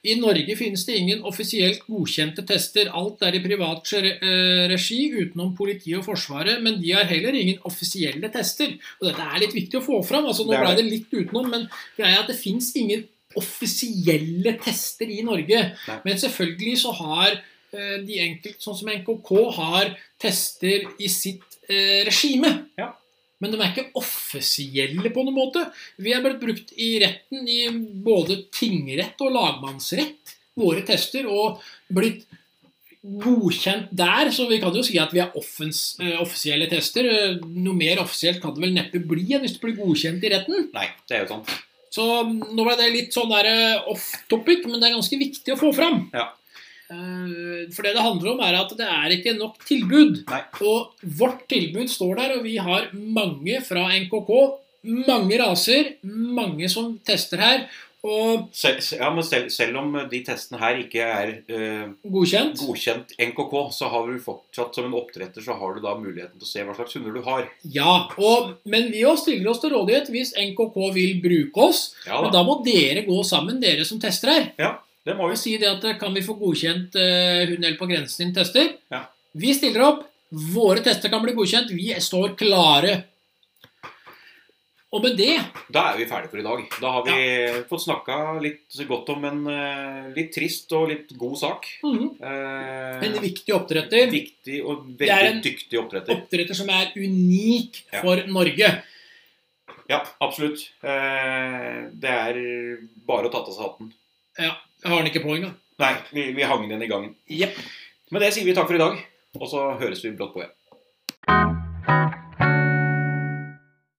I Norge finnes det ingen offisielt godkjente tester. Alt er i privat re- eh, regi utenom politiet og Forsvaret, men de har heller ingen offisielle tester. Og dette er litt viktig å få fram. altså Nå
Det er
ble
det.
det litt utenom, men greia er at det finnes ingen offisielle tester i Norge.
Nei.
Men selvfølgelig så har eh, de enkelte, sånn som NKK, har tester i sitt eh, regime.
Ja.
Men de er ikke offisielle på noen måte. Vi er blitt brukt i retten i både tingrett og lagmannsrett, våre tester, og blitt godkjent der, så vi kan jo si at vi er offens, eh, offisielle tester. Eh, Noe mer offisielt kan det vel neppe bli enn hvis du blir godkjent i retten.
Nei, det er jo sant.
Så mm, nå ble det litt sånn der eh, off topic, men det er ganske viktig å få fram.
Ja.
Eh, For det det handler om, er at det er ikke nok tilbud.
Nei.
Og vårt tilbud står der, og vi har mange fra NKK. Mange raser, mange som tester her. Og
Sel, se- ja, men selv, selv om de testene her ikke er eh,
godkjent.
godkjent NKK, så har du fortsatt som en oppdretter så har du da muligheten til å se hva slags hunder du har.
Ja. Og, men vi også stiller oss til rådighet hvis NKK vil bruke oss.
Ja
Men
da,
da må dere gå sammen, dere som tester her.
det må
Og
vi.
si det at eh, kan vi få godkjent eh, hund eller på grensen din tester?
Ja.
Vi stiller opp. Våre tester kan bli godkjent. Vi står klare. Og med det
Da er vi ferdige for i dag. Da har vi fått snakka litt godt om en eh, litt trist og litt god sak.
mhm,
Eh,
en viktig oppdretter.
Viktig og
Det er
veldig
en-
dyktig oppdretter.
Oppdretter som er unik
Ja.
for Norge.
Ja, absolutt. Eh, det er bare å ta av seg hatten.
Jeg har den ikke på engang.
Nei, vi, vi hang den i gangen.
Jepp.
Med det sier vi takk for i dag, og så høres vi brått på igjen.